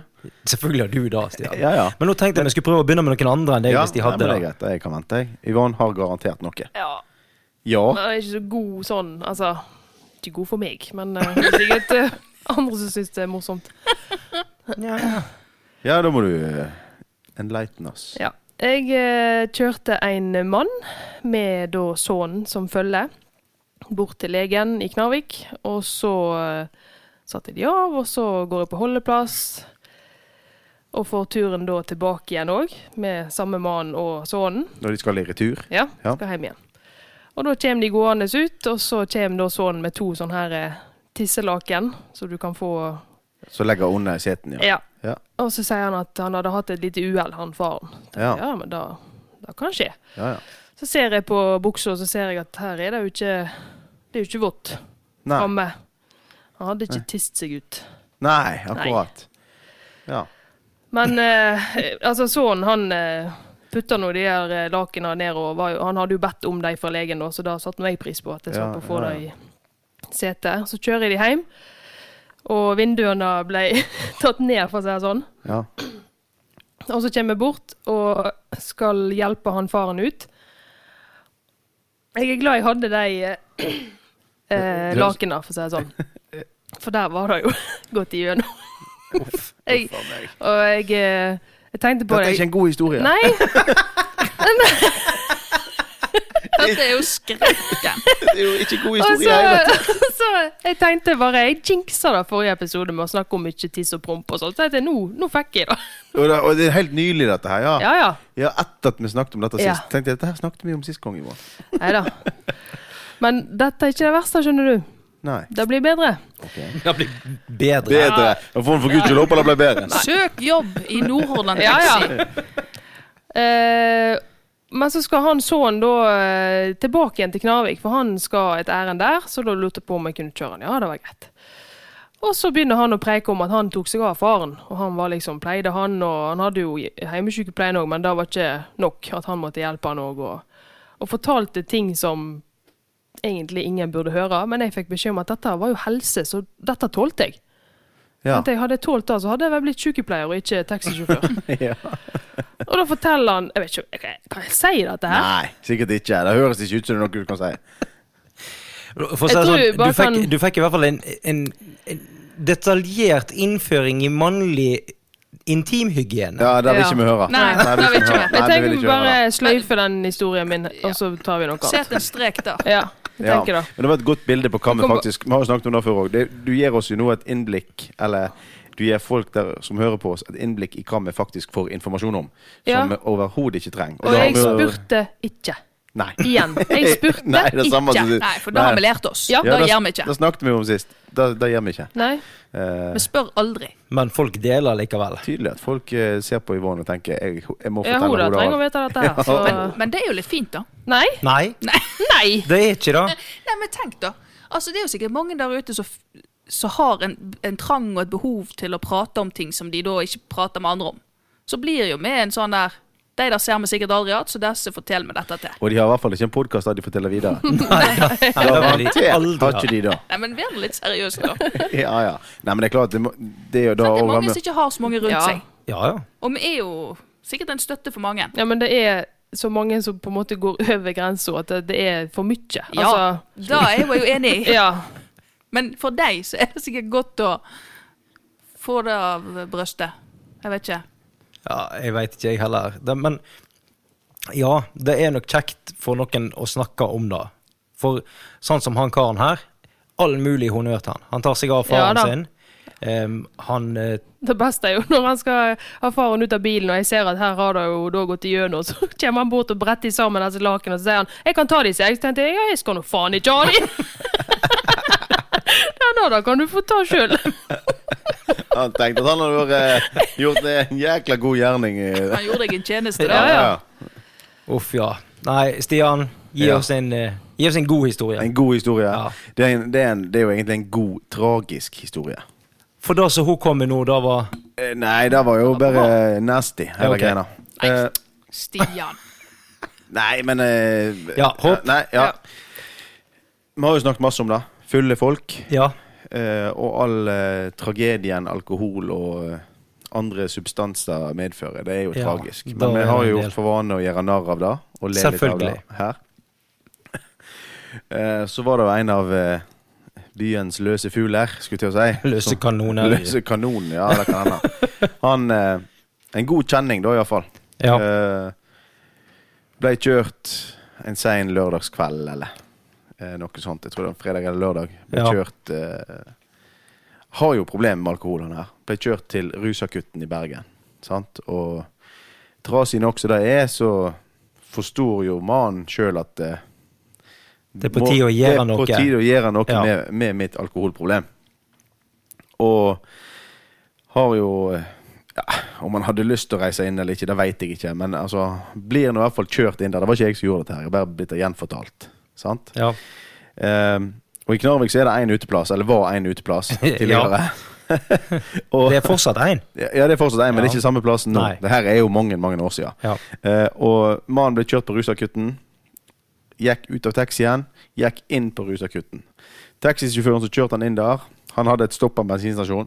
Speaker 1: Selvfølgelig har du det, Stian.
Speaker 2: Ja, ja.
Speaker 1: Men nå tenkte jeg vi skulle prøve å begynne med noen andre enn deg.
Speaker 2: ja,
Speaker 1: hvis de
Speaker 2: nei, men
Speaker 1: hadde
Speaker 2: det
Speaker 1: det.
Speaker 2: er greit. Jeg kan vente, jeg. Yvonne har garantert noe.
Speaker 4: Ja.
Speaker 2: Ja.
Speaker 4: Men Den er ikke så god sånn, altså. Ikke god for meg, men eh, det er sikkert eh, andre som syns det er morsomt.
Speaker 2: Ja, da må du eh, enlighten oss.
Speaker 4: Ja. Jeg eh, kjørte en mann med da sønnen som følge bort til legen i Knarvik. Og så eh, satte jeg de av, og så går jeg på holdeplass. Og får turen da tilbake igjen òg, med samme mann og sønnen.
Speaker 2: Når de skal i retur.
Speaker 4: Ja,
Speaker 2: Ja.
Speaker 4: skal hjem igjen. Og da kommer de gående ut, og så kommer da sønnen med to sånne her eh, tisselaken, så du kan få
Speaker 2: Så legger hun under i seten, ja.
Speaker 4: Ja.
Speaker 2: Ja.
Speaker 4: Og så sier han at han hadde hatt et lite uhell, han faren. Ja,
Speaker 2: Ja.
Speaker 4: ja men da, da kan skje.
Speaker 2: ja, ja.
Speaker 4: Så ser jeg på buksa, så ser jeg at her er det jo ikke Det er jo ikke vått
Speaker 2: Nei.
Speaker 4: framme. Han hadde ikke tist seg ut.
Speaker 2: Nei, akkurat. Ja.
Speaker 4: Men eh, altså, sønnen, han eh, putta nå de her eh, lakena ned, og var jo, han hadde jo bedt om dem fra legen, da, så da satte nå jeg pris på at jeg
Speaker 2: Ja,
Speaker 4: slapp å få
Speaker 2: ja, ja.
Speaker 4: dem i setet. Så kjører jeg de hjem, og vinduene ble tatt ned, for å si det sånn.
Speaker 2: ja.
Speaker 4: Og så kommer jeg bort og skal hjelpe han faren ut. Jeg er glad jeg hadde de eh, eh,
Speaker 2: Du-
Speaker 4: lakena, for å si det sånn. For der var det jo gått igjennom. Jeg,
Speaker 2: Faen meg.
Speaker 4: og jeg, eh, jeg tenkte på
Speaker 2: Dette er ikke en god historie.
Speaker 4: Nei,
Speaker 3: dette er jo skrekken.
Speaker 2: Det er jo ikke en god
Speaker 4: og
Speaker 2: historie.
Speaker 4: så,
Speaker 2: heller.
Speaker 4: så jeg tenkte bare Jeg jinxa det forrige episode med å snakke om mye tiss og promp og sånt. Så tenkte jeg, nå, nå fikk jeg det.
Speaker 2: Og det, og det er helt nylig, dette her. Ja.
Speaker 4: Ja ja.
Speaker 2: ja, Etter at vi snakket om dette
Speaker 4: Ja.
Speaker 2: sist. Tenkte jeg, Dette her snakket vi om sist gang, Yvonne.
Speaker 4: Nei da. Men dette er ikke det verste, skjønner du.
Speaker 2: Nei.
Speaker 4: Det blir bedre.
Speaker 1: Det blir bedre.
Speaker 2: Bedre. Og for, for gudskjelov håper det blir bedre.
Speaker 3: Søk jobb i Nordhordland
Speaker 4: Ja, ja.
Speaker 3: Taxi.
Speaker 4: Eh, men så skal han sønnen da eh, tilbake igjen til Knarvik, for han skal et ærend der. Så da lurte jeg på om jeg kunne kjøre han. Ja, det var greit. Og så begynner han å preike om at han tok seg av faren. Og han var liksom, pleide han, og han hadde jo hjemmesykepleien òg, men det var ikke nok at han måtte hjelpe han òg. Og, og fortalte ting som egentlig ingen burde høre. Men jeg fikk beskjed om at dette var jo helse, så dette tålte jeg.
Speaker 2: Ja.
Speaker 4: At jeg hadde tålt det, så hadde jeg vel blitt sykepleier og ikke taxisjåfør.
Speaker 2: Ja.
Speaker 4: Og da forteller han Jeg vet ikke, jeg kan- kan jeg si dette her?
Speaker 2: Nei, sikkert ikke. Det høres ikke ut som det er noe du kan si.
Speaker 1: For å si
Speaker 4: Jeg
Speaker 1: det
Speaker 4: tror
Speaker 1: sånn,
Speaker 4: bare
Speaker 1: du fikk,
Speaker 4: kan-
Speaker 1: du fikk i hvert fall en, en, en detaljert innføring i mannlig intimhygiene.
Speaker 2: Ja, det vil
Speaker 4: Ja.
Speaker 2: ikke vi høre.
Speaker 3: Nei, det vil ikke vi.
Speaker 2: Nei,
Speaker 4: Jeg
Speaker 2: det vil
Speaker 4: tenker vi
Speaker 2: ikke vi høre.
Speaker 4: bare sløyfer den historien min, og så tar vi noe annet.
Speaker 3: Sett en strek der.
Speaker 4: Ja, jeg
Speaker 2: Ja,
Speaker 4: tenker det.
Speaker 2: Men det var et godt bilde på hva vi
Speaker 4: kom på-
Speaker 2: faktisk Vi har jo snakket om det før òg. Du gir oss jo nå et innblikk, eller du gir folk der som hører på oss, et innblikk i hva vi faktisk får informasjon om.
Speaker 4: Ja.
Speaker 2: Som vi overhodet ikke trenger.
Speaker 4: Og
Speaker 2: da har
Speaker 4: jeg
Speaker 2: vi jo-
Speaker 4: spurte ikke.
Speaker 2: Nei.
Speaker 4: Igjen. Jeg spurte
Speaker 2: Nei, det er samme som
Speaker 4: ikke.
Speaker 2: sist.
Speaker 3: Nei, for det har vi lært oss.
Speaker 4: Ja.
Speaker 3: Det
Speaker 2: Ja,
Speaker 3: gjør vi ikke.
Speaker 2: Det snakket vi om sist. Det det gjør vi ikke.
Speaker 4: Nei.
Speaker 2: Eh,
Speaker 3: Vi spør aldri.
Speaker 1: Men folk deler likevel.
Speaker 2: tydelig at folk eh, ser på Yvonne og tenker jeg, jeg må
Speaker 4: Ja,
Speaker 2: fortelle
Speaker 4: Hoda
Speaker 2: henne
Speaker 4: trenger å
Speaker 2: det.
Speaker 4: vite dette her.
Speaker 3: Men,
Speaker 4: Så
Speaker 3: men det er jo litt fint, da.
Speaker 4: Nei.
Speaker 1: Nei,
Speaker 4: Nei.
Speaker 1: det er ikke det.
Speaker 3: Nei, men tenk da. Altså, det er jo sikkert mange der ute som, f- som har en, en trang og et behov til å prate om ting som de da ikke prater med andre om. Så blir jo med en sånn der De der ser vi sikkert aldri igjen, så disse forteller vi dette til.
Speaker 2: Og de har i hvert fall ikke en podkast der de forteller videre.
Speaker 1: Nei, det vil de
Speaker 2: Garantert har
Speaker 1: aldri
Speaker 2: ikke
Speaker 1: ha.
Speaker 2: de da.
Speaker 3: Nei, men vær nå litt seriøse, da. Det
Speaker 2: Ja, ja. Nei, men det er klart, det, må, det er jo da
Speaker 3: er
Speaker 2: å være
Speaker 3: mange
Speaker 2: med-
Speaker 3: som ikke har så mange rundt
Speaker 4: Ja.
Speaker 3: seg.
Speaker 1: Ja, ja.
Speaker 3: Og vi er jo sikkert en støtte for mange.
Speaker 4: Ja, men det er så mange som på en måte går over grensa, at det- det er for mye.
Speaker 3: Ja,
Speaker 4: Altså,
Speaker 3: da er jeg jo enig i.
Speaker 4: ja.
Speaker 3: Men for deg så er det sikkert godt å få det av brøstet. Jeg vet ikke.
Speaker 1: Ja, jeg veit ikke, jeg heller. Det, men ja, det er nok kjekt for noen å snakke om det. For sånn som han karen her, all mulig honnør til han. Han tar seg av
Speaker 4: Ja
Speaker 1: faren
Speaker 4: da.
Speaker 1: sin. Em, han eh,
Speaker 4: Det beste er jo når han skal ha faren ut av bilen, og jeg ser at her har det jo da gått igjennom, så kommer han bort og bretter sammen disse lakenene, og så sier han 'jeg kan ta de', sier jeg. Så tenkte jeg ja, jeg skal nå faen ikke ha de! ja, nå da kan du få ta sjøl.
Speaker 2: Han tenkte at han hadde vært, eh, gjort en jækla god gjerning. eh.
Speaker 3: Han gjorde deg en tjeneste, da.
Speaker 4: Ja, ja.
Speaker 1: Uff, ja. Nei, Stian, gi,
Speaker 2: Ja.
Speaker 1: oss, en, eh, gi oss en god historie.
Speaker 2: En god historie.
Speaker 1: Ja.
Speaker 2: Det, er en, det, er en, det er jo egentlig en god, tragisk historie.
Speaker 1: For det som hun kom med nå, det var
Speaker 2: Eh, Nei, det var jo bare nasty, hele
Speaker 1: ok.
Speaker 2: greia. Eh,
Speaker 3: Stian.
Speaker 2: Nei, men eh,
Speaker 1: Ja, hopp.
Speaker 2: Nei, ja.
Speaker 4: Ja.
Speaker 2: Vi har jo snakket masse om det. Fulle folk.
Speaker 1: Ja.
Speaker 2: eh, og all eh, tragedien alkohol og eh, andre substanser medfører. Det er jo
Speaker 1: Ja,
Speaker 2: tragisk.
Speaker 1: da
Speaker 2: Men vi
Speaker 1: er
Speaker 2: har
Speaker 1: det en
Speaker 2: jo
Speaker 1: del.
Speaker 2: gjort for vane å gjøre narr av det. Og le litt av det
Speaker 1: Selvfølgelig.
Speaker 2: her. Eh, så var det jo en av eh, byens løse fugler, skulle jeg til å si.
Speaker 1: Løse
Speaker 2: Som-
Speaker 1: kanoner.
Speaker 2: Sånn. Løse kanonen, ja. Det kan hende. Han eh, En god kjenning, da, iallfall.
Speaker 1: Ja.
Speaker 2: Eh, ble kjørt en sein lørdagskveld, eller eh, noe sånt. Jeg tror det var fredag eller lørdag. Ble
Speaker 1: Ja.
Speaker 2: kjørt eh, Har jo problemer med alkohol, han her. Ble kjørt til rusakutten i Bergen. Sant? Og trasig nok som det er, så forstår jo mannen sjøl at eh,
Speaker 1: Det er på tide å gjøre
Speaker 2: Det er på
Speaker 1: noe.
Speaker 2: tide å gjøre noe
Speaker 1: Ja.
Speaker 2: med, med mitt alkoholproblem. Og har jo ja, Om han hadde lyst til å reise inn eller ikke, det veit jeg ikke. Men altså, blir nå i hvert fall kjørt inn der. Det var ikke jeg som gjorde dette. her, Jeg er bare blitt gjenfortalt. Sant?
Speaker 1: ja.
Speaker 2: Ehm, og i Knarvik så er det én uteplass, eller var én uteplass tidligere. og,
Speaker 1: Det er fortsatt én.
Speaker 2: ja, det er fortsatt én, men
Speaker 1: Ja.
Speaker 2: det er ikke samme plassen nå.
Speaker 1: Nei.
Speaker 2: Det her er jo mange, mange år siden.
Speaker 1: Ja.
Speaker 2: Eh, og mannen ble kjørt på rusakutten. Gikk ut av taxien, gikk inn på rusakutten. Taxisjåføren som kjørte han inn der, han hadde et stopp på en bensinstasjon.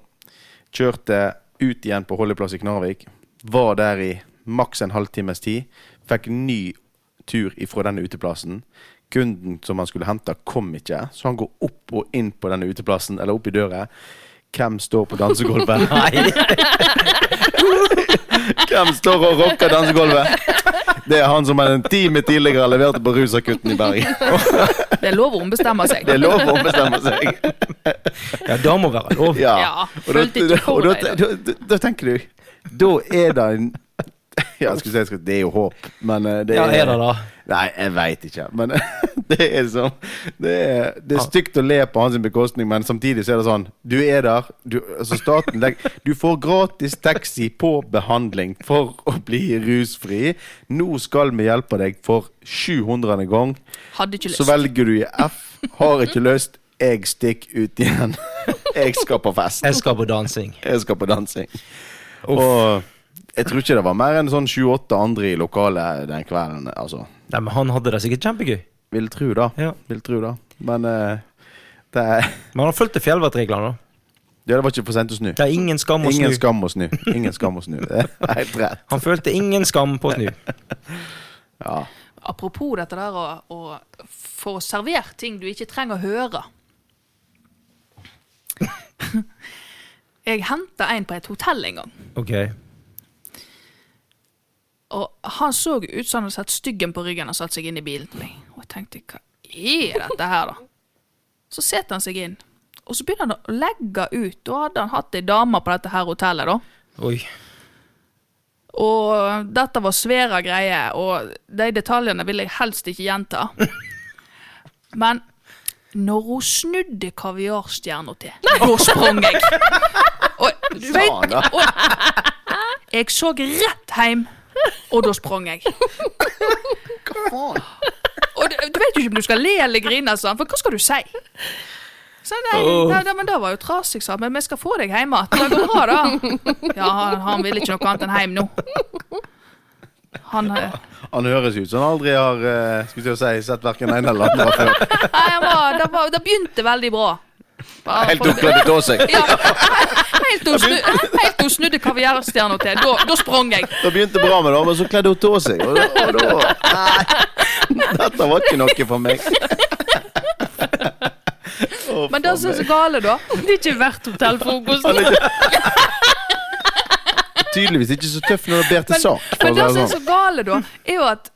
Speaker 2: Kjørte ut igjen på holdeplass i Knarvik. Var der i maks en halvtimes tid. Fikk ny tur ifra denne uteplassen. Kunden som han skulle hente, kom ikke, så han går opp og inn på denne uteplassen, eller opp i døra. Hvem står på dansegulvet?
Speaker 1: Nei.
Speaker 2: Hvem står og rocker dansegulvet? Det er han som en time tidligere leverte på Rusakutten i Bergen.
Speaker 3: Det er lov å ombestemme seg.
Speaker 2: Det er lov å ombestemme seg.
Speaker 1: Ja, det må være lov.
Speaker 2: Ja.
Speaker 3: Ja,
Speaker 2: Og da,
Speaker 3: følte ikke for
Speaker 2: og da,
Speaker 3: deg,
Speaker 2: da, da, da tenker du Da er det en ja, jeg skulle si, jeg skulle- Det er jo håp, men eh, det
Speaker 1: Ja, er det da?
Speaker 2: Nei, jeg veit ikke. Men Det er liksom det er, det er stygt å le på hans bekostning, men samtidig så er det sånn Du er der. Du, altså staten legg, du får gratis taxi på behandling for å bli rusfri. Nå skal vi hjelpe deg for 700. gang.
Speaker 3: Hadde ikke lyst.
Speaker 2: Så velger du i F. Har ikke lyst. Jeg stikker ut igjen. Jeg skal på fest.
Speaker 1: Jeg skal på dansing.
Speaker 2: Jeg skal på dansing. Og jeg tror ikke det var mer enn sånn 28 andre i lokalet den kvelden. Altså.
Speaker 1: Nei, men Han hadde det sikkert kjempegøy.
Speaker 2: Vil tro da.
Speaker 1: Ja.
Speaker 2: Vil tro da. Men eh, det, er,
Speaker 1: Men han fulgte fjellvettreglene. da.
Speaker 2: ja, det var ikke for sent å snu.
Speaker 1: Det er ingen skam å snu.
Speaker 2: Ingen skam å snu. Ingen skam å snu. Det er helt rett.
Speaker 1: Han følte ingen skam på å snu.
Speaker 2: Ja.
Speaker 3: Apropos dette der å, å få servert ting du ikke trenger å høre. Jeg henta en på et hotell en gang,
Speaker 1: Ok.
Speaker 3: og han så ut som han hadde satt styggen på ryggen og satt seg inn i bilen til meg. Og jeg tenkte, hva er dette her, da? Så setter han seg inn, og så begynner han å legge ut. Da hadde han hatt ei dame på dette her hotellet, da.
Speaker 1: Oi.
Speaker 3: Og dette var svære greier, og de detaljene vil jeg helst ikke gjenta. Men når hun snudde kaviarstjerna til, da sprang jeg. Og du vet
Speaker 2: da.
Speaker 3: og Jeg så rett hjem, og da sprang jeg. Og du, du vet jo ikke om du skal le eller grine, sånn, for hva skal du si? Så nei, nei, nei, men det var jo trasig, sa han. Men vi skal få deg hjem igjen. Det går bra, da. Ja, han, han vil ikke noe annet enn hjem nå. Han, eh,
Speaker 2: Han høres ut som han aldri har eh, skal vi si, sett verken en eller andre før.
Speaker 3: nei, han var, det, var, det begynte veldig bra. Bare
Speaker 2: Helt
Speaker 3: for-
Speaker 2: oppgledet av seg.
Speaker 3: Ja, helt til hun snu- helt til hun snudde kaviarstjerna til. Da, da sprang jeg.
Speaker 2: Det begynte bra med det, men så kledde hun av seg. Og da, og da Nei, dette var ikke noe for meg. Å,
Speaker 3: Men det
Speaker 2: faen
Speaker 3: som er så
Speaker 2: meg.
Speaker 3: gale, da
Speaker 4: Det er ikke verdt hotellfrokosten.
Speaker 2: Tydeligvis ikke så tøff når det ber til sak. for å
Speaker 3: Men
Speaker 2: si det
Speaker 3: det som er så
Speaker 2: sånn.
Speaker 3: gale, da, er jo at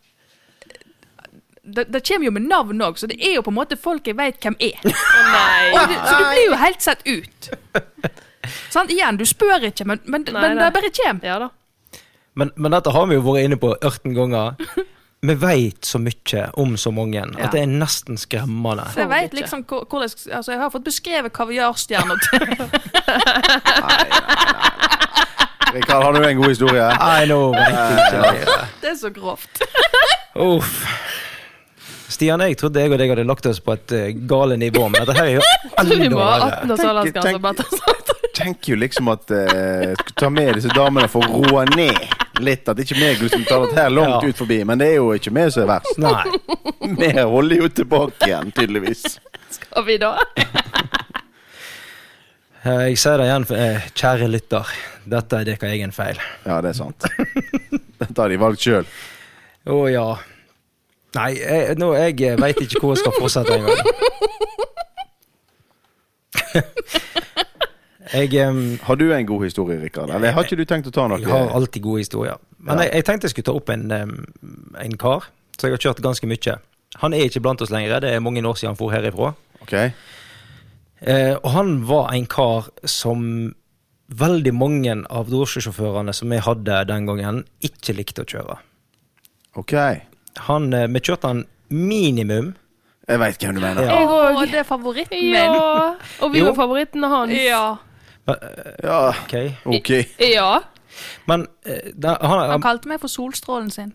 Speaker 3: det, det kommer jo med navn òg, så det er jo på en måte folk jeg veit hvem er. Og
Speaker 4: Nei.
Speaker 3: du, så du blir jo helt satt ut. Sant? Igjen, du spør ikke, men, men,
Speaker 4: Nei,
Speaker 3: men
Speaker 4: nei.
Speaker 3: det bare kommer.
Speaker 4: Ja da.
Speaker 1: Men, men dette har vi jo vært inne på 18 ganger. Vi veit så mye om så mange
Speaker 3: Ja.
Speaker 1: at det er nesten skremmende.
Speaker 3: Så jeg
Speaker 4: Faen
Speaker 3: vet
Speaker 4: ikke.
Speaker 3: liksom hvor- hvordan altså, Jeg har fått beskrevet kaviarstjerner til
Speaker 2: Rikard, har du en god historie?
Speaker 1: Nei, nå vet jeg ikke.
Speaker 3: Det er så grovt.
Speaker 1: Uff. Stian, jeg trodde jeg og deg hadde lagt oss på et eh, gale nivå, men dette her er jo
Speaker 4: Vi
Speaker 1: enda
Speaker 4: må ha
Speaker 1: verre.
Speaker 4: 18 års aldersgrense.
Speaker 2: Tenk-
Speaker 4: bare ta sånn.
Speaker 2: Tenker jo liksom at eh, jeg skal ta med disse damene for å roe ned litt. At ikke meg liksom tar dette her
Speaker 1: Ja.
Speaker 2: langt ut forbi. Men det er jo ikke meg som er verst.
Speaker 1: Nei.
Speaker 2: Vi holder jo tilbake igjen, tydeligvis.
Speaker 4: Skal vi da?
Speaker 1: Eh, Jeg sier det igjen, for, eh, kjære lytter. Dette er deres egen feil.
Speaker 2: Ja, det er sant. Dette har de valgt sjøl.
Speaker 1: Å ja. Nei, jeg, nå, jeg veit ikke hvor jeg skal fortsette engang. jeg, em,
Speaker 2: Har du en god historie, Rikard? Eller har ikke du tenkt å ta noe?
Speaker 1: jeg har alltid gode historier. Men jeg, jeg tenkte jeg skulle ta opp en, em, en kar som jeg har kjørt ganske mye. Han er ikke blant oss lenger. Det er mange år siden han for herifra.
Speaker 2: Ok.
Speaker 1: Eh, og han var en kar som veldig mange av drosjesjåførene som jeg hadde den gangen, ikke likte å kjøre.
Speaker 2: ok. Jeg
Speaker 1: Han, eh, vi kjørte han minimum
Speaker 2: veit hvem du mener.
Speaker 1: Ja.
Speaker 4: Jeg òg.
Speaker 3: Å, det er favoritten min.
Speaker 4: Ja. Og vi
Speaker 1: Jo.
Speaker 4: var favorittene hans.
Speaker 3: Ja.
Speaker 2: Ja,
Speaker 1: Ok.
Speaker 2: ok.
Speaker 4: Ja.
Speaker 1: Men eh, da, han,
Speaker 3: Han
Speaker 1: han,
Speaker 3: kalte meg for solstrålen sin.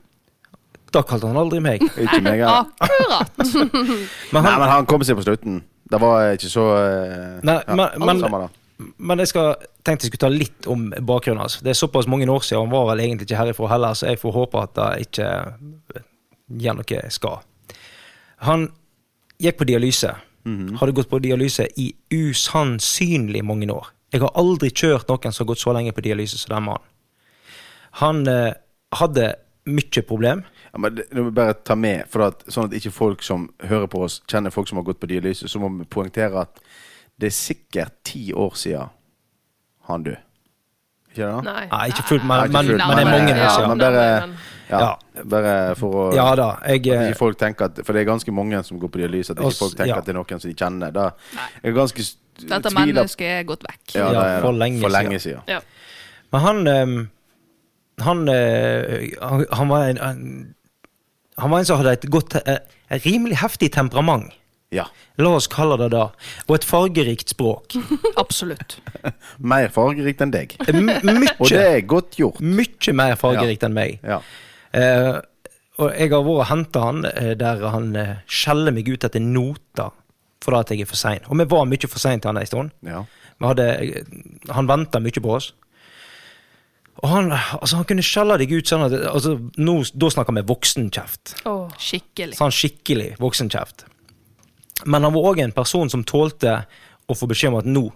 Speaker 1: da kalte han aldri meg.
Speaker 2: Ikke meg, ja.
Speaker 3: Akkurat.
Speaker 1: Men,
Speaker 2: Nei,
Speaker 1: han,
Speaker 2: men han kom seg på slutten. Det var ikke så eh,
Speaker 1: Nei,
Speaker 2: ja,
Speaker 1: men- men-
Speaker 2: samme da.
Speaker 1: men jeg skal, tenkte jeg skulle ta litt om bakgrunnen hans. Det er såpass mange år siden, han var vel egentlig ikke herifra heller, så jeg får håpe at det ikke eh, gjør noe skal. Han gikk på dialyse.
Speaker 2: Mhm.
Speaker 1: Hadde gått på dialyse i usannsynlig mange år. Jeg har aldri kjørt noen som har gått så lenge på dialyse som den mannen. Han eh, hadde mye problem.
Speaker 2: Ja, men det, nå må vi bare ta med, for at, sånn at ikke folk som hører på oss, kjenner folk som har gått på dialyse, så må vi poengtere at det er sikkert ti år siden han død. Ikke det? da?
Speaker 4: Nei.
Speaker 1: Nei, ikke fullt, men,
Speaker 2: Nei, ikke
Speaker 1: men,
Speaker 2: fullt,
Speaker 1: men det er
Speaker 2: men-
Speaker 1: mange år
Speaker 2: ja,
Speaker 1: siden.
Speaker 2: men bare, ja,
Speaker 1: Ja.
Speaker 2: bare for å
Speaker 1: Ja da. Jeg,
Speaker 2: at
Speaker 1: eh,
Speaker 2: ikke folk tenker at, For det er ganske mange som går på dialyse, at ikke
Speaker 1: Oss-
Speaker 2: folk tenker
Speaker 1: ja.
Speaker 2: at det er noen som de kjenner. Da, jeg er ganske s-
Speaker 3: Dette
Speaker 2: tviler-
Speaker 3: mennesket er gått vekk.
Speaker 2: ja, det er,
Speaker 1: for
Speaker 2: for
Speaker 1: lenge
Speaker 2: lenge, for lenge siden.
Speaker 4: Ja.
Speaker 1: Men han ehm, han, eh, han han var en han, han var en som hadde et godt eh, rimelig heftig temperament.
Speaker 2: Ja.
Speaker 1: La oss kalle det det. Og et fargerikt språk.
Speaker 3: Absolutt.
Speaker 2: Mer fargerikt enn deg.
Speaker 1: M
Speaker 2: Og det
Speaker 1: mykje,
Speaker 2: er godt gjort.
Speaker 1: mykje mer fargerikt enn meg.
Speaker 2: Ja.
Speaker 1: Eh, og jeg har vært og henta han eh, der han eh, skjeller meg ut etter noter fordi at jeg er for sein. Og vi var mye for sein til han en stund.
Speaker 2: ja.
Speaker 1: Vi hadde, eh, han venta mye på oss. Og han, altså, han kunne skjelle deg ut sånn at altså, nå, Da snakker vi voksenkjeft.
Speaker 4: Åh.
Speaker 3: Skikkelig.
Speaker 1: Sånn skikkelig voksenkjeft. Men han var òg en person som tålte å få beskjed om at nå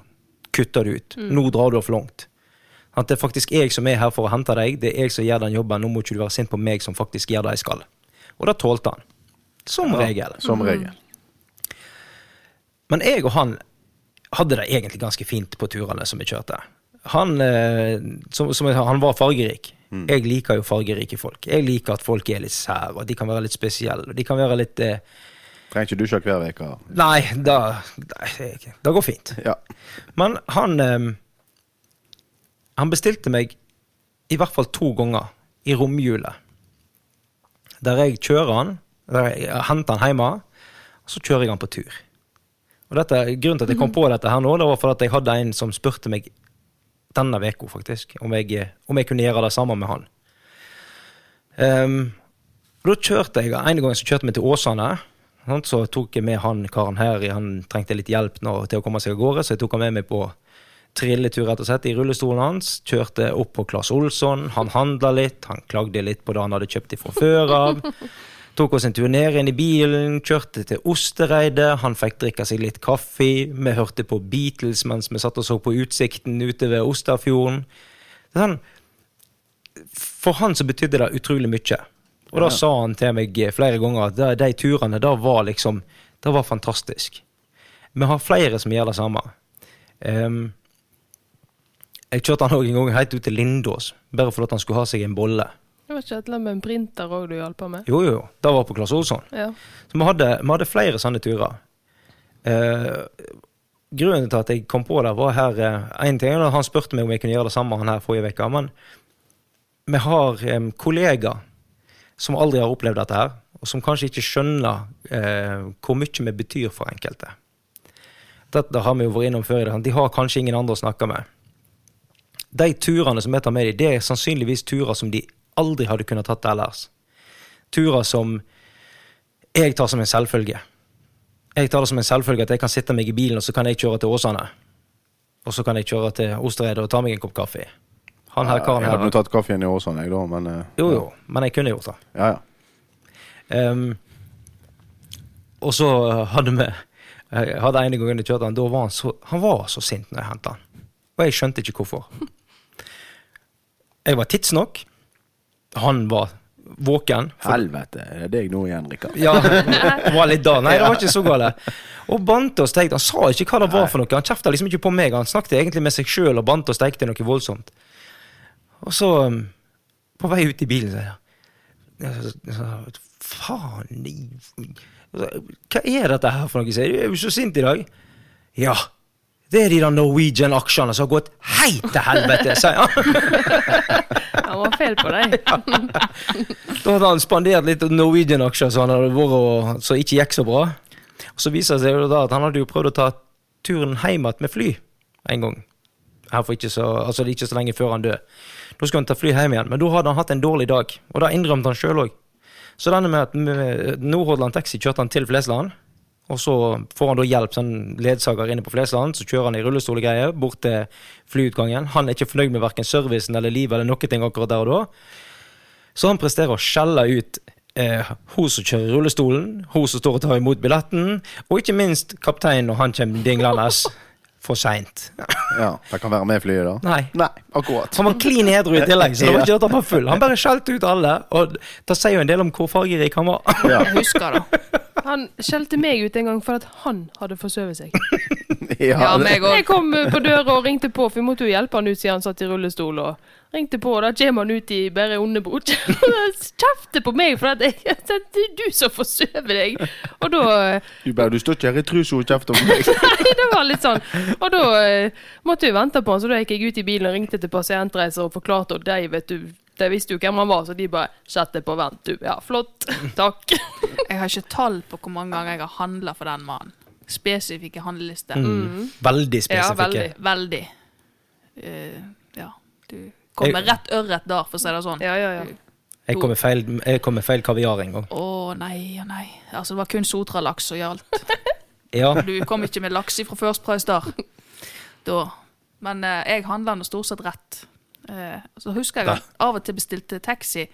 Speaker 1: kutter du ut. Nå drar du for langt. At det er faktisk jeg som er her for å hente deg. Det er jeg som gjør den jobben. Nå må ikke du være sint på meg som faktisk gjør det jeg skal. Og det tålte han. Som regel.
Speaker 2: Som
Speaker 3: Mm.
Speaker 2: regel.
Speaker 1: Men jeg og han hadde det egentlig ganske fint på turene som vi kjørte. Han, eh, som, som jeg, sa, han var fargerik. Jeg liker jo fargerike folk. Jeg liker at folk er litt sære, og de kan være litt spesielle. og De kan være litt eh,
Speaker 2: Trenger ikke dusje hver uke.
Speaker 1: Nei, da, nei, det- det går fint.
Speaker 2: Ja.
Speaker 1: Men han eh, Han bestilte meg i hvert fall to ganger i romhjulet. Der jeg kjører han, der jeg henter han hjemme, og så kjører jeg han på tur. Og dette, Grunnen til at jeg kom på dette her nå, det var for at jeg hadde en som spurte meg denne veka faktisk, om jeg, eh, om jeg kunne gjøre det samme med han. Ehm, og da kjørte jeg, En gang så kjørte vi til Åsane. sant, Så tok jeg med han karen her, han trengte litt hjelp nå, til å komme seg av gårde, så jeg tok han med meg på trilletur rett og slett i rullestolen hans. Kjørte opp på Claes Olsson, han handla litt, han klagde litt på det han hadde kjøpt fra før av. Tok oss en tur ned inn i bilen, kjørte til Ostereidet, han fikk drikke seg litt kaffe, vi hørte på Beatles mens vi satt og så på utsikten ute ved Osterfjorden. Det er Sånn, for han så betydde det utrolig mye. Og da sa han til meg flere ganger at de, de turene da var liksom Det var fantastisk. Vi har flere som gjør det samme. Ehm, jeg kjørte han òg en gang helt ut til Lindås, bare for at han skulle ha seg en bolle.
Speaker 4: Det var ikke et eller annet med en printer òg du hjalp han med?
Speaker 1: Jo, jo, jo. Det var på Claes Olsson.
Speaker 4: Ja.
Speaker 1: Så vi hadde, vi hadde flere sånne turer. Eh, grunnen til at jeg kom på det, var her eh, en ting, er at Han spurte meg om jeg kunne gjøre det samme han her forrige uke. Men vi har eh, kollegaer som aldri har opplevd dette her, og som kanskje ikke skjønner eh, hvor mye vi betyr for enkelte. Dette har vi jo vært innom før i dag. De har kanskje ingen andre å snakke med. De turene som jeg tar med dem, det er sannsynligvis turer som de aldri hadde kunnet tatt ellers. Turer som jeg tar som en selvfølge. Jeg tar det som en selvfølge at jeg kan sitte meg i bilen, og så kan jeg kjøre til Åsane. Og så kan jeg kjøre til Ostereidet og ta meg en kopp kaffe. Han her karen
Speaker 2: Jeg hadde nå
Speaker 1: her.
Speaker 2: tatt kaffen i Åsane, jeg, da, men eh,
Speaker 1: Jo, jo, men jeg kunne gjort det.
Speaker 2: Ja, ja.
Speaker 1: Ehm, og så hadde vi jeg hadde en gang jeg kjørte han, da var han så, han var så sint når jeg hentet han. Og jeg skjønte ikke hvorfor. Jeg var tidsnok. Han var våken.
Speaker 2: Helvete, er det deg nå igjen, Rikard?
Speaker 1: Ja, var litt da. Nei, det var ikke så galt. Og bandt og steikte. Han sa ikke hva det var for noe. Han kjefta liksom ikke på meg. Han snakket egentlig med seg sjøl og bandt og steikte noe voldsomt. Og så, um, på vei ut i bilen, så jeg, så- så- Faen i så- Hva er dette her for noe? sier jeg. Du er jo så sint i dag. Ja. Det er de der Norwegian-aksjene som har gått hei til helvete, sier han.
Speaker 4: Han var feil på deg.
Speaker 1: Da hadde han spandert litt Norwegian-aksjer som han hadde vært og så ikke gikk så bra. Og Så viser det seg jo da at han hadde jo prøvd å ta turen hjem igjen med fly en gang. Her for ikke så, altså ikke så lenge før han døde. Da skulle han ta fly hjem igjen, men da hadde han hatt en dårlig dag. Og det innrømte han sjøl òg. Så denne med at med Nordhordland Taxi kjørte han til Flesland. Og så får han da hjelp, sånn ledsager inne på Flesland. Så kjører han i rullestol og greier bort til flyutgangen. Han er ikke fornøyd med verken servicen eller livet eller noe ting akkurat der og da. Så han presterer å skjelle ut eh, hun som kjører rullestolen, hun som står og tar imot billetten, og ikke minst kapteinen når han kommer dinglende for seint.
Speaker 2: Ja, Det kan være med i flyet, da?
Speaker 1: Nei.
Speaker 2: Nei, akkurat.
Speaker 1: Han var klin edru i tillegg, så det var ikke at han var full. Han bare skjelte ut alle, og det sier jo en del om hvor fargerik han var.
Speaker 2: Ja.
Speaker 3: Husker det.
Speaker 4: Han skjelte meg ut en gang for at han hadde forsøvet seg.
Speaker 3: Ja,
Speaker 2: det-
Speaker 3: meg òg.
Speaker 4: Jeg kom eh, på døra og ringte på, for vi måtte jo hjelpe han ut siden han satt i rullestol. og ringte på, og Da kommer han ut i bare underbot. Han Kjefter på meg for at jeg, jeg sa, det er du som forsøver deg. Og da eh,
Speaker 2: Du bare, du står ikke her i trusa og kjefter på meg.
Speaker 4: Nei, det var litt sånn. Og da eh, måtte vi vente på han, så da gikk jeg ut i bilen og ringte til pasientreiser og forklarte, og de, vet du, de visste jo hvem han var, så de bare 'Sett deg på vent, du. Ja, flott. Takk.'
Speaker 3: Jeg har ikke tall på hvor mange ganger jeg har handla for den mannen. Spesifikke handlelister.
Speaker 2: Mm.
Speaker 1: Veldig
Speaker 4: Mm. Ja,
Speaker 1: spesifikke.
Speaker 4: veldig.
Speaker 3: Veldig. Eh, ja. Du kommer
Speaker 1: Jeg-
Speaker 3: rett ørret der, for å si det sånn.
Speaker 4: Ja, ja, ja.
Speaker 1: jeg kom med feil, jeg kom med feil kaviar en gang.
Speaker 3: Å nei, å nei. Altså, det var kun Sotra-laks som gjaldt.
Speaker 1: Ja,
Speaker 3: Du kom ikke med laks fra First Price der. Da. Men eh, jeg handla nå stort sett rett. Eh, så husker jeg at av og til bestilte taxi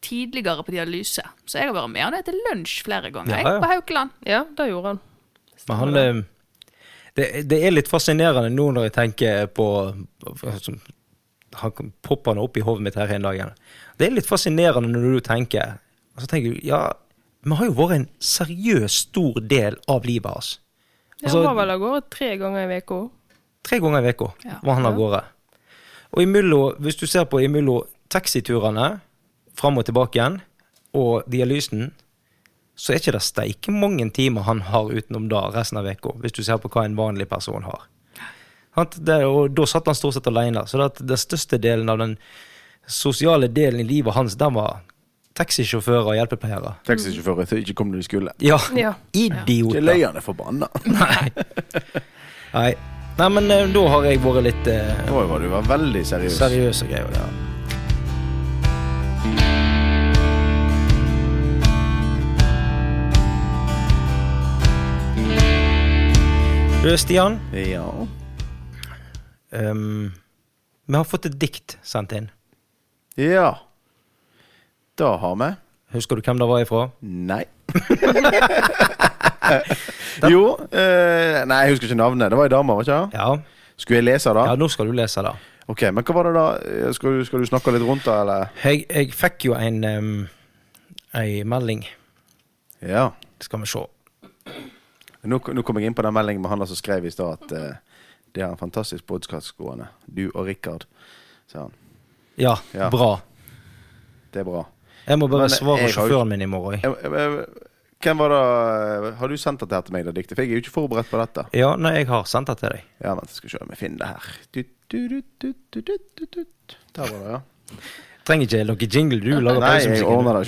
Speaker 3: tidligere på dialyse. Så jeg har vært med han ned til lunsj flere ganger.
Speaker 1: Ja,
Speaker 3: jeg,
Speaker 1: ja.
Speaker 3: På Haukeland.
Speaker 4: Ja, det gjorde han.
Speaker 1: men han eh, det, det er litt fascinerende nå når jeg tenker på altså, Han kom- popper nå opp i hodet mitt her en dag igjen. Det er litt fascinerende når du tenker Og så tenker du, ja, vi har jo vært en seriøs stor del av livet hans.
Speaker 4: Ja,
Speaker 1: Altså-
Speaker 4: han var vel av gårde tre ganger i uka.
Speaker 1: Tre ganger i uka var han av gårde. Og imellom, hvis du ser på imellom taxiturene fram og tilbake igjen, og dialysen, så er ikke det steike mange timer han har utenom da resten av uka, hvis du ser på hva en vanlig person har. Sant? Det, og da satt han stort sett alene. Så det at den største delen av den sosiale delen i livet hans, den var taxisjåfører og hjelpepleiere.
Speaker 2: Taxisjåfører som ikke kom når de skulle.
Speaker 1: Ja,
Speaker 4: Ja.
Speaker 2: Det er
Speaker 1: idioter!
Speaker 2: løyende forbanna.
Speaker 1: Nei. Nei. Nei, men eh, da har jeg vært litt eh,
Speaker 2: Nå var du var veldig seriøs.
Speaker 1: Seriøse greier, ja. Du, Stian,
Speaker 2: Ja.
Speaker 1: ehm, vi har fått et dikt sendt inn.
Speaker 2: ja. Da har vi
Speaker 1: Husker du hvem det var ifra?
Speaker 2: Nei. jo eh, Nei, jeg husker ikke navnet. Det var ei dame, var ikke det?
Speaker 1: Ja.
Speaker 2: Skulle jeg lese det?
Speaker 1: ja, nå skal du lese det.
Speaker 2: Ok, men hva var det da? Eh, Skal du, skal du snakke litt rundt det, eller?
Speaker 1: Jeg, jeg fikk jo en, ehm, ei melding.
Speaker 2: Ja.
Speaker 1: Skal vi se.
Speaker 2: Nå, nå kom jeg inn på den meldingen med han der som skrev i stad at eh, det er en fantastisk podkast gående. Du og Rikard. Sa han.
Speaker 1: Ja,
Speaker 2: Ja.
Speaker 1: bra.
Speaker 2: Det er bra.
Speaker 1: Jeg må bare
Speaker 2: Men
Speaker 1: svare
Speaker 2: jeg har jo-
Speaker 1: sjåføren min i morgen. jeg.
Speaker 2: Jeg, jeg, jeg, hvem var det eh, Har du sendt dette her til meg, det diktet? For jeg er jo ikke forberedt på dette.
Speaker 1: Ja, nei, jeg har sendt det til deg.
Speaker 2: Ja, vent, jeg skal se om jeg finner det her. Du, du, du, du, du, du, du, du. Der var det, ja.
Speaker 1: Trenger ikke noe jingle, du lager
Speaker 2: Nei, jeg
Speaker 1: pausemusikken.
Speaker 2: ordner det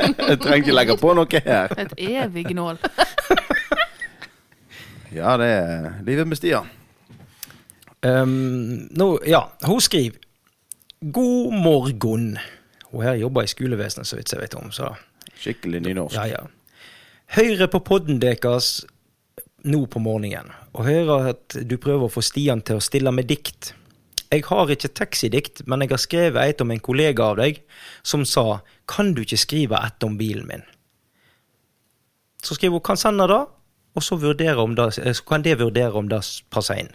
Speaker 2: sjøl. jeg trenger ikke legge på noe her.
Speaker 3: Et evig gnål.
Speaker 2: Ja, det er livet med Stian.
Speaker 1: Ehm, nå, ja, hun skriver God morgen. Hun her jobber i skolevesenet, så vidt jeg vet om. Så.
Speaker 2: Skikkelig nynorsk.
Speaker 1: Ja, ja. Høyre på podden deres nå på morgenen, og hører at du prøver å få Stian til å stille med dikt. Jeg har ikke taxidikt, men jeg har skrevet et om en kollega av deg som sa 'Kan du ikke skrive et om bilen min?' Så skriver hun 'Kan sende det', og så, vurdere om det, eh, så kan det vurdere om det passer inn.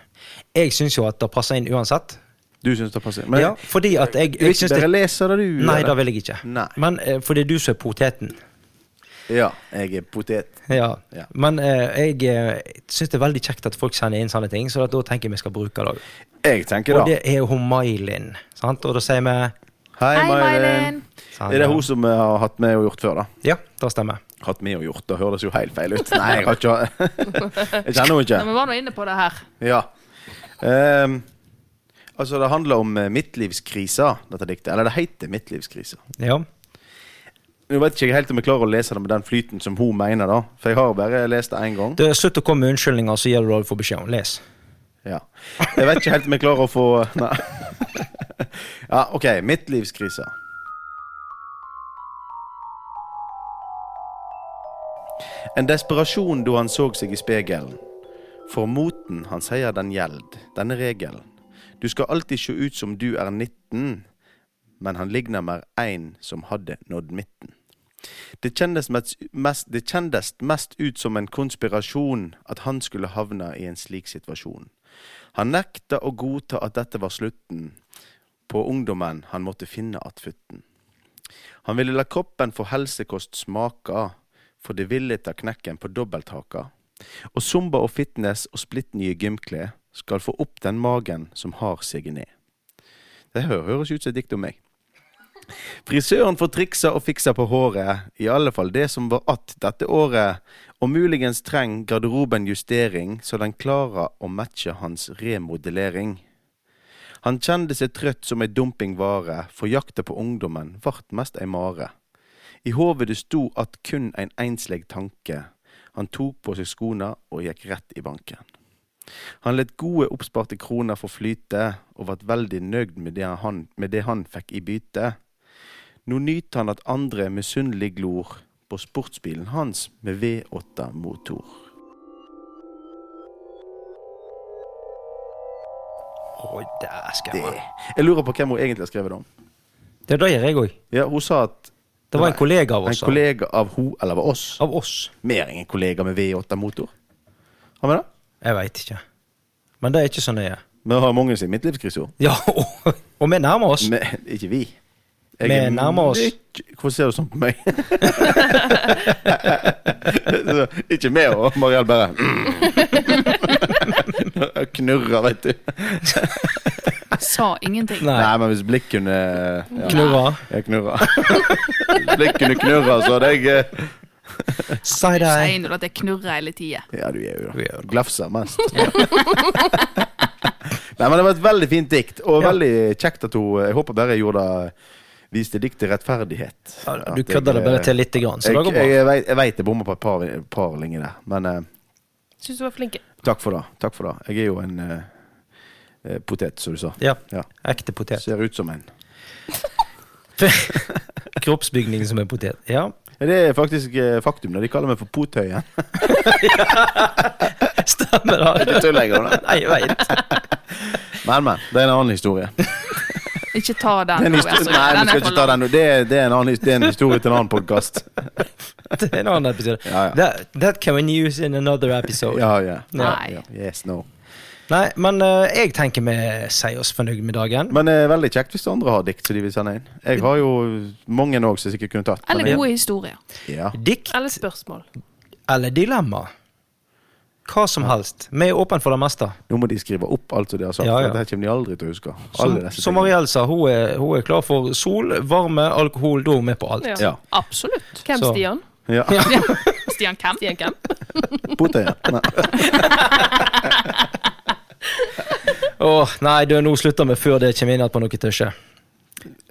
Speaker 1: Jeg syns jo at det passer inn uansett.
Speaker 2: Du syns det passer?
Speaker 1: ja, fordi at jeg,
Speaker 2: du vil
Speaker 1: jeg
Speaker 2: ikke
Speaker 1: syns det
Speaker 2: bare lese det, du?
Speaker 1: Nei,
Speaker 2: eller?
Speaker 1: det vil jeg ikke.
Speaker 2: Nei.
Speaker 1: Men eh, for det er du som er poteten.
Speaker 2: Ja, jeg er potet.
Speaker 1: Ja.
Speaker 2: Ja.
Speaker 1: Men eh, jeg eh, syns det er veldig kjekt at folk sender inn sånne ting, så at da tenker jeg vi skal bruke det.
Speaker 2: Jeg tenker
Speaker 1: Og
Speaker 2: da.
Speaker 1: det er jo hun Mailin, sant? og da sier vi
Speaker 2: Hei,
Speaker 3: Hei,
Speaker 2: Mailin.
Speaker 3: Mailen.
Speaker 2: Er det hun som eh, har hatt med og gjort før, da?
Speaker 1: Ja, det stemmer.
Speaker 2: Hatt med og gjort, da høres jo helt feil ut. Nei, jeg har ikke Jeg kjenner henne ikke.
Speaker 3: Nei, Vi var nå inne på det her.
Speaker 2: Ja. Ehm, altså, det handler om eh, midtlivskrisa, dette diktet. Eller det heter Midtlivskrisa.
Speaker 1: Ja.
Speaker 2: Nå vet ikke jeg helt om jeg klarer å lese det med den flyten som hun mener, da. For jeg har bare lest det én gang.
Speaker 1: Det er Slutt å komme med unnskyldninger, så gir du det du får beskjed om. Les.
Speaker 2: Ja. Jeg vet ikke helt om jeg klarer å få Nei. Ja, OK. Midtlivskrisa. En desperasjon da han så seg i spegelen. For moten, han sier den gjeld, denne regelen. Du skal alltid se ut som du er 19, men han ligner mer én som hadde nådd midten. Det kjendes mest, mest, det kjendes mest ut som en konspirasjon at han skulle havne i en slik situasjon. Han nekta å godta at dette var slutten på ungdommen han måtte finne attfutten. Han ville la kroppen få helsekost smaka, for det ville ta knekken på dobbelthaka. Og Zumba og fitness og splittnye gymklær skal få opp den magen som har seg ned. Det hø- høres ut som et dikt om meg. Frisøren får triksa og fiksa på håret, i alle fall det som var att dette året, og muligens trenger garderoben justering så den klarer å matche hans remodellering. Han kjente seg trøtt som ei dumpingvare, for jakta på ungdommen vart mest ei mare. I hodet det sto at kun ein einsleg tanke. Han tok på seg skona og gikk rett i banken. Han let gode oppsparte kroner få flyte, og vart veldig nøgd med det han, med det han fikk i byte. Nå nyter han at andre misunnelig glor på sportsbilen hans med V8-motor.
Speaker 1: Å, dæsken.
Speaker 2: Det. Jeg lurer på hvem hun egentlig har skrevet det om.
Speaker 1: Det, det gjør jeg òg.
Speaker 2: Ja, hun sa at
Speaker 1: Det var en kollega av
Speaker 2: en
Speaker 1: oss. sa han.
Speaker 2: kollega av hun eller av oss
Speaker 1: Av oss.
Speaker 2: Mer enn en kollega med V8-motor. Har vi det?
Speaker 1: Jeg veit ikke. Men det er ikke så nøye.
Speaker 2: Vi har mange sin midtlivskrise.
Speaker 1: Ja, og, og vi nærmer oss.
Speaker 2: Men ikke vi.
Speaker 1: Vi
Speaker 2: er
Speaker 1: nærmer oss.
Speaker 2: myk- Hvorfor ser du sånn på meg? Så, ikke vi og Mariell bare mm. Knurrer, vet du.
Speaker 3: Jeg sa ingenting.
Speaker 1: Nei.
Speaker 2: Nei, men hvis blikk kunne ja,
Speaker 1: Knurra.
Speaker 2: Jeg knurrer. Hvis blikk kunne knurre, så hadde jeg eh,
Speaker 1: Side-eye.
Speaker 3: Sier nå at jeg knurrer hele tida.
Speaker 2: Ja, du er jo
Speaker 1: Du er jo det.
Speaker 2: glafser mest. Nei, men Det var et veldig fint dikt, og
Speaker 1: Ja.
Speaker 2: veldig kjekt at hun Jeg håper bare jeg gjorde det Viste diktet rettferdighet.
Speaker 1: Ja,
Speaker 2: At
Speaker 1: Du
Speaker 2: jeg,
Speaker 1: kødder det bare til lite grann, så det
Speaker 2: Jeg,
Speaker 1: går
Speaker 2: jeg,
Speaker 1: bra.
Speaker 2: jeg, vet- jeg vet jeg bommer på et par, par linjer der, men eh,
Speaker 4: Syns du var flink.
Speaker 2: takk for det. Takk for det. Jeg er jo en eh, eh, potet, som du sa.
Speaker 1: Ja.
Speaker 2: Ja.
Speaker 1: Ekte potet.
Speaker 2: Ser ut som en.
Speaker 1: Kroppsbygning som en potet. Ja.
Speaker 2: Det er faktisk eh, faktum. da. De kaller meg for Pothøyen.
Speaker 1: Stemmer det.
Speaker 2: Ikke tull lenger. da.
Speaker 1: Nei, jeg veit.
Speaker 2: Men, men. Det er en annen historie.
Speaker 3: Ikke ta
Speaker 2: Det er
Speaker 3: den.
Speaker 2: en
Speaker 3: nå,
Speaker 2: historie.
Speaker 3: Vestre.
Speaker 2: Nei,
Speaker 3: altså, Den
Speaker 2: vi
Speaker 3: er
Speaker 2: skal
Speaker 3: for
Speaker 2: ikke ta
Speaker 3: lang.
Speaker 2: den nå. Det, er- det, er en annen his- det er en historie til en annen podkast.
Speaker 1: Det er en annen episode.
Speaker 2: Ja, ja.
Speaker 1: That, that can we use in another episode.
Speaker 2: Ja, ja.
Speaker 3: Nei.
Speaker 2: Ja, Yes, no.
Speaker 1: Nei, men eh, jeg tenker vi sier oss fornøyd med dagen.
Speaker 2: Men eh, veldig kjekt hvis andre har dikt som de vil sende inn. Jeg har jo mange òg som jeg sikkert kunne tatt. men
Speaker 3: Eller
Speaker 2: jeg-
Speaker 3: gode historier.
Speaker 2: ja.
Speaker 1: Dikt
Speaker 4: Eller spørsmål.
Speaker 1: eller dilemma? Hva som helst. Vi er åpne for det meste.
Speaker 2: Nå må de skrive opp alt som de har sagt,
Speaker 1: Ja, ja.
Speaker 2: for dette kommer de aldri til å huske.
Speaker 1: Som,
Speaker 2: Alle disse
Speaker 1: som
Speaker 2: tingene.
Speaker 1: Mariell sa, hun er, hun er klar for sol, varme, alkohol. Da er hun med på alt.
Speaker 4: Ja.
Speaker 2: Ja.
Speaker 3: Absolutt.
Speaker 4: Hvem,
Speaker 1: Så.
Speaker 4: Stian?
Speaker 2: ja.
Speaker 3: Stian Kemp.
Speaker 4: Stian hvem?
Speaker 2: Potet, ja. Nei.
Speaker 1: Åh, nei, du, nå slutter vi før det kommer inn igjen på noe tøsje.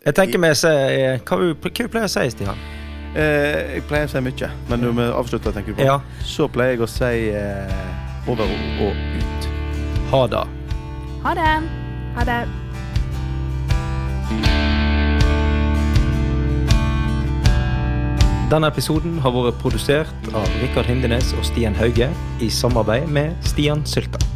Speaker 1: Jeg tenker vi sier eh, Hva vi- hva vi pleier å si, Stian?
Speaker 2: Eh, jeg pleier å si mye, men du må avslutte, tenker du på.
Speaker 1: Ja.
Speaker 2: Så pleier jeg å si eh, over og ut.
Speaker 1: Ha det.
Speaker 3: Ha det.
Speaker 4: Ha det.
Speaker 1: Denne episoden har vært produsert av Rikard Hindenes og Stian Hauge i samarbeid med Stian Sylta.